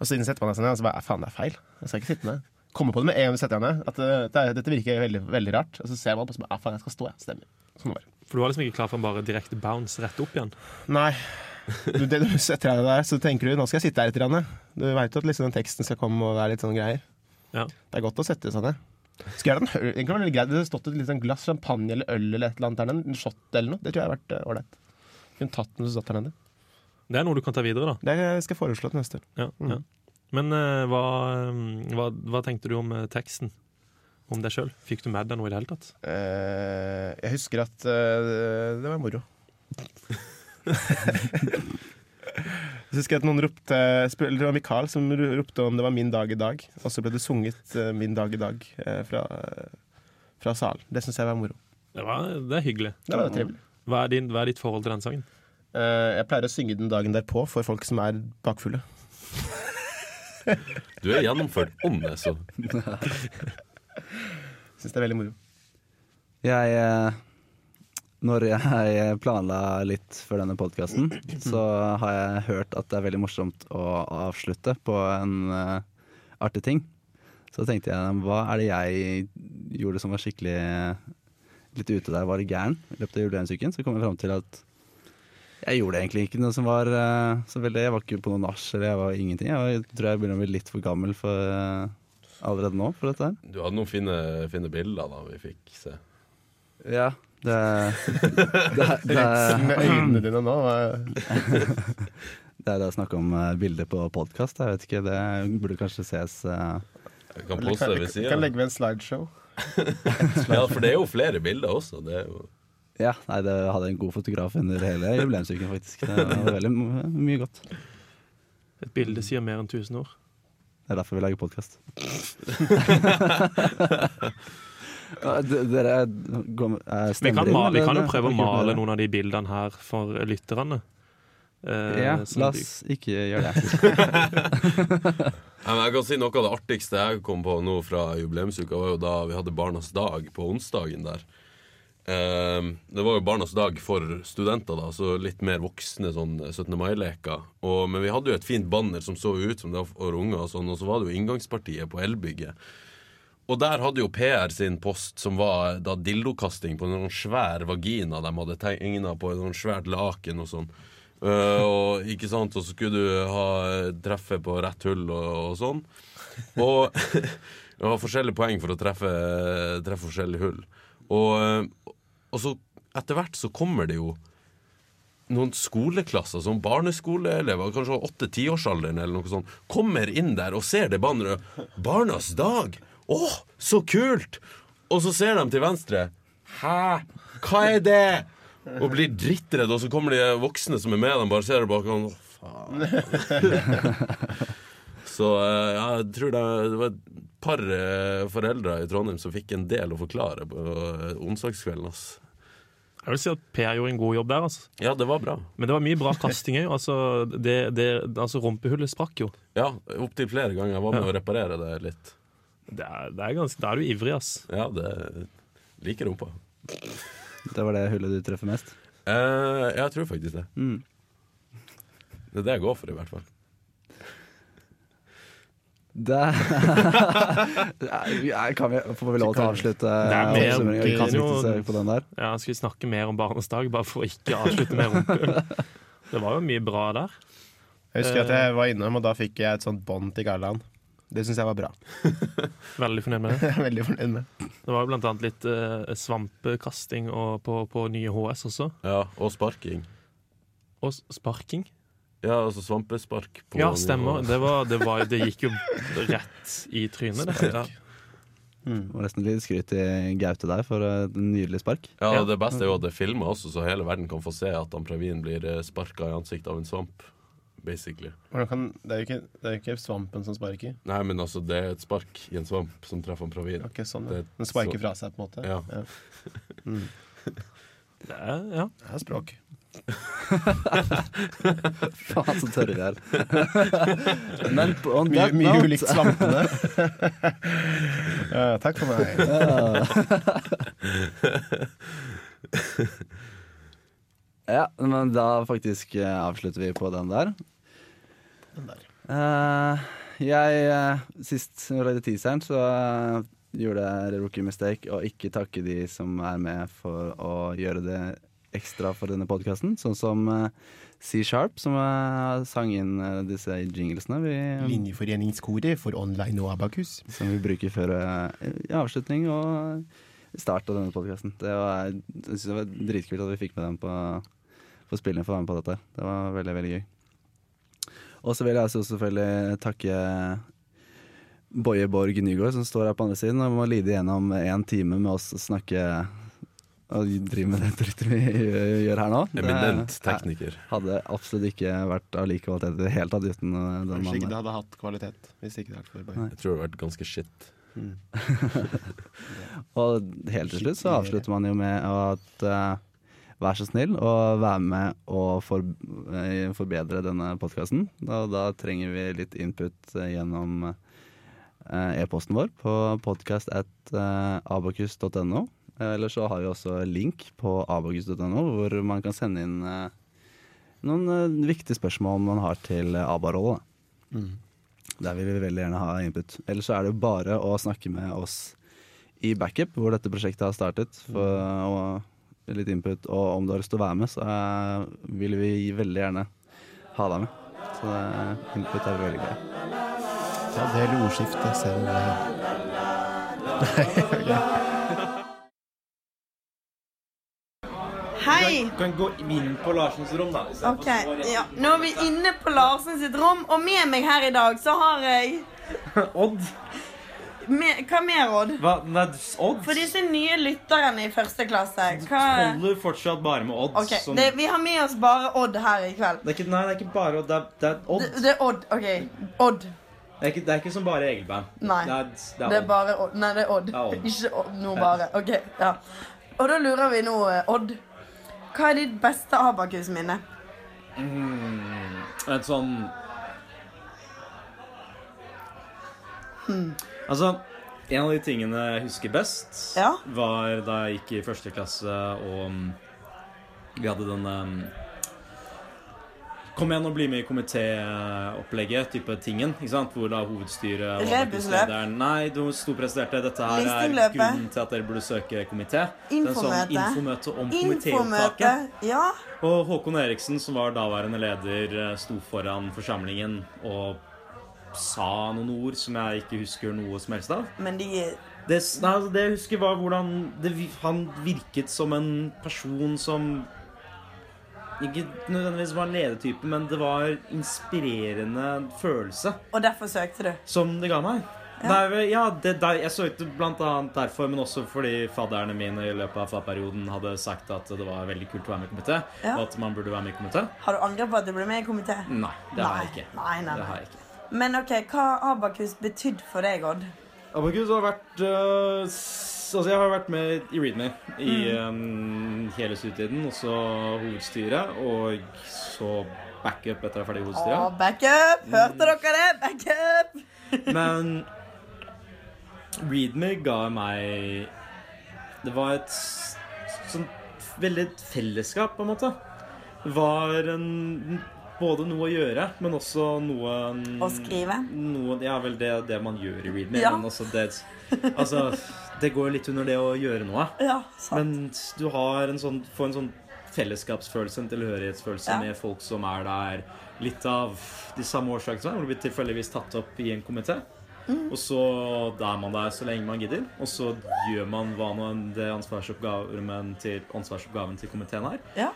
S5: Og så setter man seg ned, og så bare Faen, det er feil. Jeg skal ikke sitte ned. Kommer på det med en gang du setter deg ned. At eh, det, er- dette virker veldig, veldig rart. Og så ser man på det som Ja, faen, jeg skal stå, jeg. Stemmer. Sånn var det.
S7: For du var liksom ikke klar for en bare direkte bounce rett opp igjen.
S5: Nei. Du, det, du setter deg der, så tenker du nå skal jeg sitte her litt. Grann. Du veit at liksom, den teksten skal komme og det er litt sånn greier.
S7: Ja.
S5: Det er godt å sette seg ned. Skulle gjerne hatt en øl- egentlig var det litt greit. Det hadde stått et litt sånn glass champagne eller øl eller et eller annet der nede. En shot eller noe. Det tror jeg hadde vært eh, ålreit. Kunne tatt den som satt der nede.
S7: Det er noe du kan ta videre, da.
S5: Det skal jeg foreslå til neste år.
S7: Ja,
S1: Mm.
S7: ja. Men eh, hva, eh, hva, hva tenkte du om eh, teksten? Om deg sjøl? Fikk du med deg noe i det hele tatt?
S5: Eh, jeg husker at eh, det var moro. jeg *laughs* husker at noen ropte spør- eller Det var Mikael som ro- ropte om det var 'min dag i dag', og så ble det sunget eh, 'min dag i dag' eh, fra, fra salen. Det syns jeg var moro.
S7: Det, var, det er hyggelig.
S5: Det var trivelig.
S7: Hva er, din, hva er ditt forhold til den sangen?
S5: Eh, jeg pleier å synge den dagen derpå for folk som er bakfulle.
S2: du er gjennomført om SO.
S5: Syns det er veldig moro.
S1: Jeg eh, Når jeg planla litt for denne podkasten, så har jeg hørt at det er veldig morsomt å avslutte på en eh, artig ting. Så tenkte jeg hva er det jeg gjorde som var skikkelig litt ute der, var gæren i løpet av jubileumsuken? Så kom jeg fram til at jeg gjorde egentlig ikke noe som var eh, så veldig Jeg var ikke på noe nach eller jeg var ingenting. Jeg, var, jeg tror jeg begynner å bli litt for gammel for, eh, allerede nå for dette her.
S2: Du hadde noen fine, fine bilder da vi fikk se.
S1: Ja, det, det, det,
S5: Retsen med øynene dine nå eh,
S1: Det er det å snakke om eh, bilder på podkast. Jeg vet ikke, det burde kanskje ses eh,
S2: Jeg kan
S5: eller
S2: poste
S5: kan,
S2: det ved
S5: kan
S2: siden
S5: legge ved en slideshow.
S2: Ja, for det er jo flere bilder også. Det er jo
S1: Ja, nei, det hadde en god fotograf under hele jubileumsuken, faktisk. Det var veldig m- mye godt. Det
S7: Et bilde sier mer enn 1000 ord.
S1: er derfor vi lager podkast. Dere går med- eh,
S7: Vi
S1: stemmer
S7: kan,
S1: inn,
S7: ma- vi
S1: eller?
S7: kan jo prøve å
S1: Ikke
S7: male
S1: dere?
S7: noen av de bildene her for lytterne. Eh,
S1: Ja,
S7: sånn
S1: la
S7: at de-
S1: oss ikke gjøre det.
S2: Nei, men jeg kan si Noe av det artigste jeg kom på nå fra jubileumsuka, var jo da vi hadde Barnas dag på onsdagen der. Ehm, det var jo Barnas dag for studenter, da, så litt mer voksne sånn 17. mai-leker. Og- Men vi hadde jo et fint banner som så ut som det var for unger, og sånn, og så var det jo inngangspartiet på Elbygget. Og der hadde jo PR sin post, som var da dildokasting på en sånn svær vagina de hadde tegna på en sånn svært laken og sånn. Eh, og ikke sant, og så skulle du ha treffe på rett hull og, og sånn. Og *laughs* det var forskjellige poeng for å treffe, treffe forskjellige hull. Og, eh, og så etter hvert så kommer det jo noen skoleklasser, sånn som barneskoleelever, kanskje åtte-tiårsalderen eller noe sånt, kommer inn der og ser det banneret. 'Barnas dag'! Å, så kult! Og så ser de til venstre. Hæ? Hva er det? Og blir drittredde, og så kommer de voksne som er med dem, bare ser det bak og «Å, faen. Så eh, ja, jeg tror det, det var et par eh, foreldre i Trondheim som fikk en del å forklare på eh, onsdagskvelden. ass.
S3: Jeg vil si at Per gjorde en god jobb der, altså.
S2: Ja, det var bra.
S3: Men det var
S1: *laughs*
S3: mye bra kasting òg. Altså, det- det- altså, rumpehullet sprakk jo.
S2: Ja, Opptil flere ganger. Jeg var med å reparere det litt.
S3: Det er, det er ganske, da er du ivrig, ass.
S2: Ja, det liker rumpa.
S1: Det var det hullet du treffer mest.
S2: Eh, jeg tror faktisk det.
S1: Mm.
S2: Det er det jeg går for, i hvert fall.
S1: Det Nei, kan vi, Får vi lov til å avslutte
S3: er mer-
S1: oppsummeringen? Vi kan ikke se på den der.
S3: Ja, skal vi snakke mer om barnets dag, bare for å ikke avslutte med
S1: *laughs*
S3: rumpehull? Det var jo mye bra der.
S5: Jeg husker at jeg var innom, og da fikk jeg et sånt bånd til Garland. Det syns jeg var bra.
S3: Veldig fornøyd med det.
S5: *laughs* Jeg er veldig fornøyd med
S3: Det var jo blant annet litt eh, svampekasting og på, på nye HS også.
S2: Ja, Og sparking.
S3: Og s- sparking.
S2: Ja, altså svampespark. på-
S3: Ja, stemmer. Det, var, det, var, det gikk jo rett i trynet, det.
S2: Ja.
S1: Det var nesten litt skryt til Gaute der for et nydelig spark.
S2: Ja, Det beste er jo at det filmer også, så hele verden kan få se at han Pravin blir sparka i ansiktet av en svamp. Basically.
S5: Hvordan kan, det, er jo ikke, det er jo ikke svampen som sparker.
S2: Nei, men altså, det er et spark i en svamp som treffer han Pravin.
S5: Ok, sånn,
S2: Det
S5: ja.
S2: er
S5: Den sparker
S2: så-
S5: fra seg, på en måte.
S2: Ja.
S3: Det er, ja.
S5: Det er språk.
S1: Faen, så tørre vi er. *laughs* Men på- on
S5: Mye,
S1: that
S5: mye
S1: note-
S5: ulikt
S2: *laughs*
S5: svampene. Ja, takk for meg.
S1: Ja, men da faktisk eh, avslutter vi på den der. Eh, jeg eh, Sist vi lagde teaseren, så eh, gjorde jeg rookie mistake å ikke takke de som er med for å gjøre det ekstra for denne podkasten. Sånn som eh, C Sharp, som eh, sang inn eh, disse jinglesene vi,
S5: Linjeforeningskoret for online og abakus.
S1: som vi bruker før eh, i avslutning og start av denne podkasten. Det, var- jeg synes det var dritkult at vi fikk med dem på for spillerne for å være med på dette. Det var veldig, veldig gøy. Og så vil jeg også selvfølgelig takke Boje Borg Nygaard, som står her på andre siden og må lide gjennom én time med oss og snakke og drive med det drittet vi gjør her nå. Det
S2: Eminent tekniker.
S1: hadde absolutt ikke vært av like kvalitet i det hele tatt uten eh, den
S5: Kanskje ikke
S1: mannen.
S5: det
S1: der.
S5: hadde hatt kvalitet. Hvis ikke det hadde vært for
S1: Nei.
S5: bare.
S2: Jeg tror det har vært ganske shit.
S1: Og helt til slutt så avslutter man jo med at eh, vær så snill å være med og for, eh, forbedre denne podkasten. Da, da trenger vi litt input eh, gjennom eh, e-posten vår på podcast at eh, abakus.no. Eh, Eller så har vi også link på abakus.no hvor man kan sende inn eh, noen eh, viktige spørsmål man har til eh, ABA-rollen. da. Der vil vi veldig gjerne ha input. Ellers så er det jo bare å snakke med oss i backup, hvor dette prosjektet har startet, for og litt input. Og om du har lyst til å være med, så eh, vil vi veldig gjerne ha deg med. Så eh, input er veldig gøy.
S5: Ta del i ordskiftet selv. eh,
S4: Hei!
S8: kan gå inn på Larsens rom, da. Hvis
S4: Ok, ja. Nå er vi inne på Larsen sitt rom, og med meg her i dag så har jeg
S8: Odd?
S4: me Hva mer, Odd?
S8: Hva? Nei, Odd
S4: For disse nye lytterne i første klasse, hva
S8: holder fortsatt bare med Odd.
S4: Ok,
S8: som-
S4: det, vi har med oss bare Odd her i kveld.
S8: Det er ikke, nei, det er ikke bare Odd. Det er, det er Odd.
S4: Det, det er Odd. OK. Odd.
S8: Det er ikke, det er ikke som bare Egelband.
S4: Nei.
S8: Det er, det er
S4: Det er
S8: Odd.
S4: bare Odd. Nei, det er Odd.
S8: Det er Odd.
S4: Ikke Odd, noe bare. OK. Ja. Og da lurer vi nå, eh, Odd. Hva er ditt beste abakus-minne?
S8: Et sånn Altså, en av de tingene jeg husker best,
S4: Ja.
S8: var da jeg gikk i første klasse og mm, vi hadde den em, Kom igjen og bli med i komitéopplegget, type tingen. ikke sant? Hvor da hovedstyret og
S4: Rebusløp.
S8: arbeidslederen- Nei, du storpresterte. Dette her er
S4: Listingløpet.
S8: grunnen til at dere burde søke komité. Det er
S4: Infomøte.
S8: sånn Infomøte om
S4: Infomøte.
S8: komitéopptaket.
S4: Ja.
S8: Og Håkon Eriksen, som var daværende leder, eh, sto foran forsamlingen og sa noen ord som jeg ikke husker noe som helst av.
S4: Men de
S8: Det, nei, altså, det jeg husker, var hvordan det, vi- han virket som en person som ikke nødvendigvis var en ledertype, men det var inspirerende følelse
S4: Og derfor søkte du.
S8: som det ga meg. Det er vel- ja, det, der, jeg søkte blant annet derfor, men også fordi fadderne mine i løpet av fadderperioden hadde sagt at det var veldig kult å være med i komité,
S4: Ja.
S8: og at man burde være med i komité.
S4: Har du angret på at du ble med i komité?
S8: Nei, Mm, det har jeg ikke.
S4: Nei, nei,
S8: Det
S4: nei.
S8: har jeg ikke.
S4: Men ok, hva har Abakus betydd for deg, Odd?
S8: Abakus har vært øh, s- altså jeg har vært med i Readme i
S4: Mm.
S8: um, hele studietiden. Og så hovedstyret, og så backup etter jeg er ferdig i
S4: Å,
S8: hovedstyret.
S4: backup!
S8: Mm.
S4: Hørte dere det? Backup!
S8: Men Readme ga meg Det var et s- sånn veldig et fellesskap, på en måte. Det var en, både noe å gjøre, men også noe
S4: Å skrive.
S8: Noe, ja, vel det, det man gjør i Readme.
S4: Ja.
S8: Men også det, altså, det går litt under det å gjøre noe.
S4: Ja, sant.
S8: Men du har en sånn, får en sånn fellesskapsfølelse, en tilhørighetsfølelse
S4: Ja.
S8: med folk som er der litt av de samme årsakene som er, hvor du blir tilfeldigvis tatt opp i en komité. Og så er man der så lenge man gidder, og så gjør man hva nå enn det ansvarsoppgaven til, ansvarsoppgaven til komiteen er.
S4: Ja.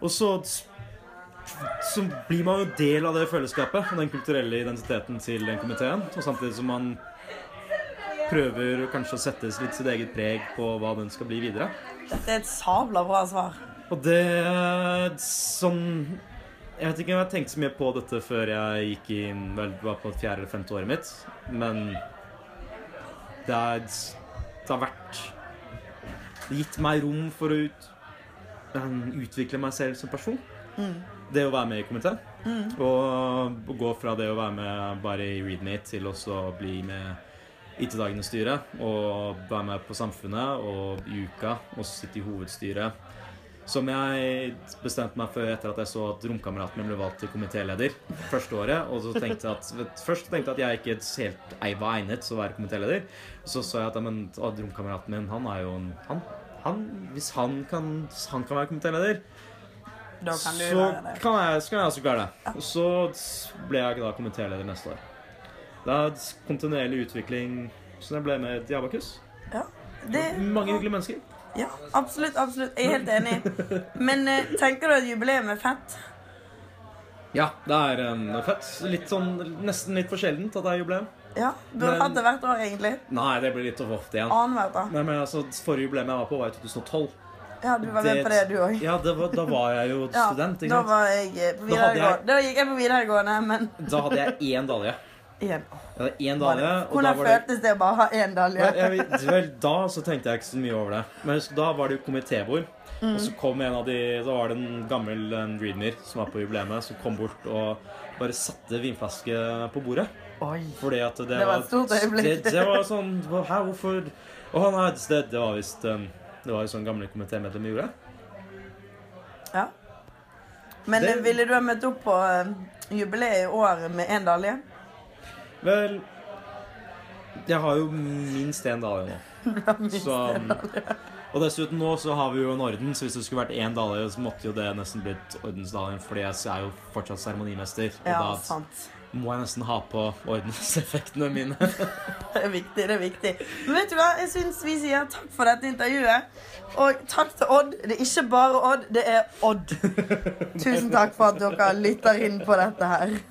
S8: Og så, så blir man jo del av det fellesskapet og den kulturelle identiteten til den komiteen. Og samtidig som man prøver å kanskje å sette litt sitt eget preg på hva den skal bli videre.
S4: Dette er et sabla bra svar.
S8: Og det er sånn Jeg vet ikke om jeg har tenkt så mye på dette før jeg gikk i vel, var på fjerde eller femte året mitt, men det, er, det har vært det har gitt meg rom for å ut, men utvikle meg selv som person. Det å være med i komiteen. Og, og gå fra det å være med bare i Readmate til også å bli med i Til dagene styret. Og være med på Samfunnet og i uka. Og sitte i hovedstyret. Som jeg bestemte meg for etter at jeg så at romkameraten min ble valgt til komitéleder første året. Og så tenkte jeg at, vet- først tenkte jeg at jeg ikke helt ei- var egnet til å være komitéleder. Så så jeg at ja, men, å, romkameraten min, han er jo en han, han, Hvis han kan, han kan være komitéleder,
S4: Da kan du
S8: så
S4: være det.
S8: kan jeg, så kan jeg også klare det. Og så ble jeg da komitéleder neste år. Det er kontinuerlig utvikling, så jeg ble med i Abakus.
S4: Ja. Det,
S8: Mange hyggelige mennesker.
S4: ja, absolutt, absolutt. Jeg er helt enig. Men eh, tenker du at jubileum er fett?
S8: Ja, det er eh, fett. Litt sånn, nesten litt for sjeldent at det er jubileum.
S4: Ja, du har
S8: Men-
S4: hatt det hvert år, egentlig.
S8: Nei, det blir litt for ofte igjen.
S4: Annethvert år.
S8: Nei, men altså, Forrige jubileum jeg var på, var i 2012.
S4: Ja, du var med på det, du òg.
S8: Ja, det var, Da var jeg
S4: *laughs*
S8: jo student. ikke
S4: da
S8: sant?
S4: var jeg eh, på
S8: Da hadde jeg-
S4: videregående. Da gikk jeg på videregående, men
S8: Da hadde jeg én dalje.
S4: igjen.
S8: Jeg hadde én
S4: Var
S8: dalje,
S4: det-
S8: og da
S4: Hvordan
S8: var det
S4: føltes det å bare ha én dalje?
S8: Nei, jeg, vet- vel, da så tenkte jeg ikke så mye over det. Men husk, da var det jo komitébord.
S4: Mm.
S8: Og så kom en av de Da var det en gammel en readmer som var på jubileet, som kom bort og bare satte vinflaske på bordet.
S4: Oi.
S8: Fordi at det,
S4: Det var et stort øyeblikk.
S8: Det, det var sånn hva- Hæ, hvorfor Å nei, det, det var visst um, Det var jo sånn gamle komitémedlemmer gjorde.
S4: Ja. Men
S8: Det-
S4: eh, ville du ha møtt opp på eh, jubileet i år med én dalje?
S8: Vel Jeg har jo minst én dalje
S4: *laughs*
S8: nå. Så, um, og dessuten nå så har vi jo en orden, så hvis det skulle vært én dalje, så måtte jo det nesten blitt ordensdaljen, fordi jeg er jo fortsatt seremonimester. Og
S4: Ja,
S8: da
S4: sant. *laughs*
S8: må jeg nesten ha på ordenseffektene mine.
S4: Det er viktig, det er viktig. Men vet du hva, jeg syns vi sier takk for dette intervjuet. Og takk til Odd. Det er ikke bare Odd, det er Odd. Tusen takk for at dere lytter inn på dette her.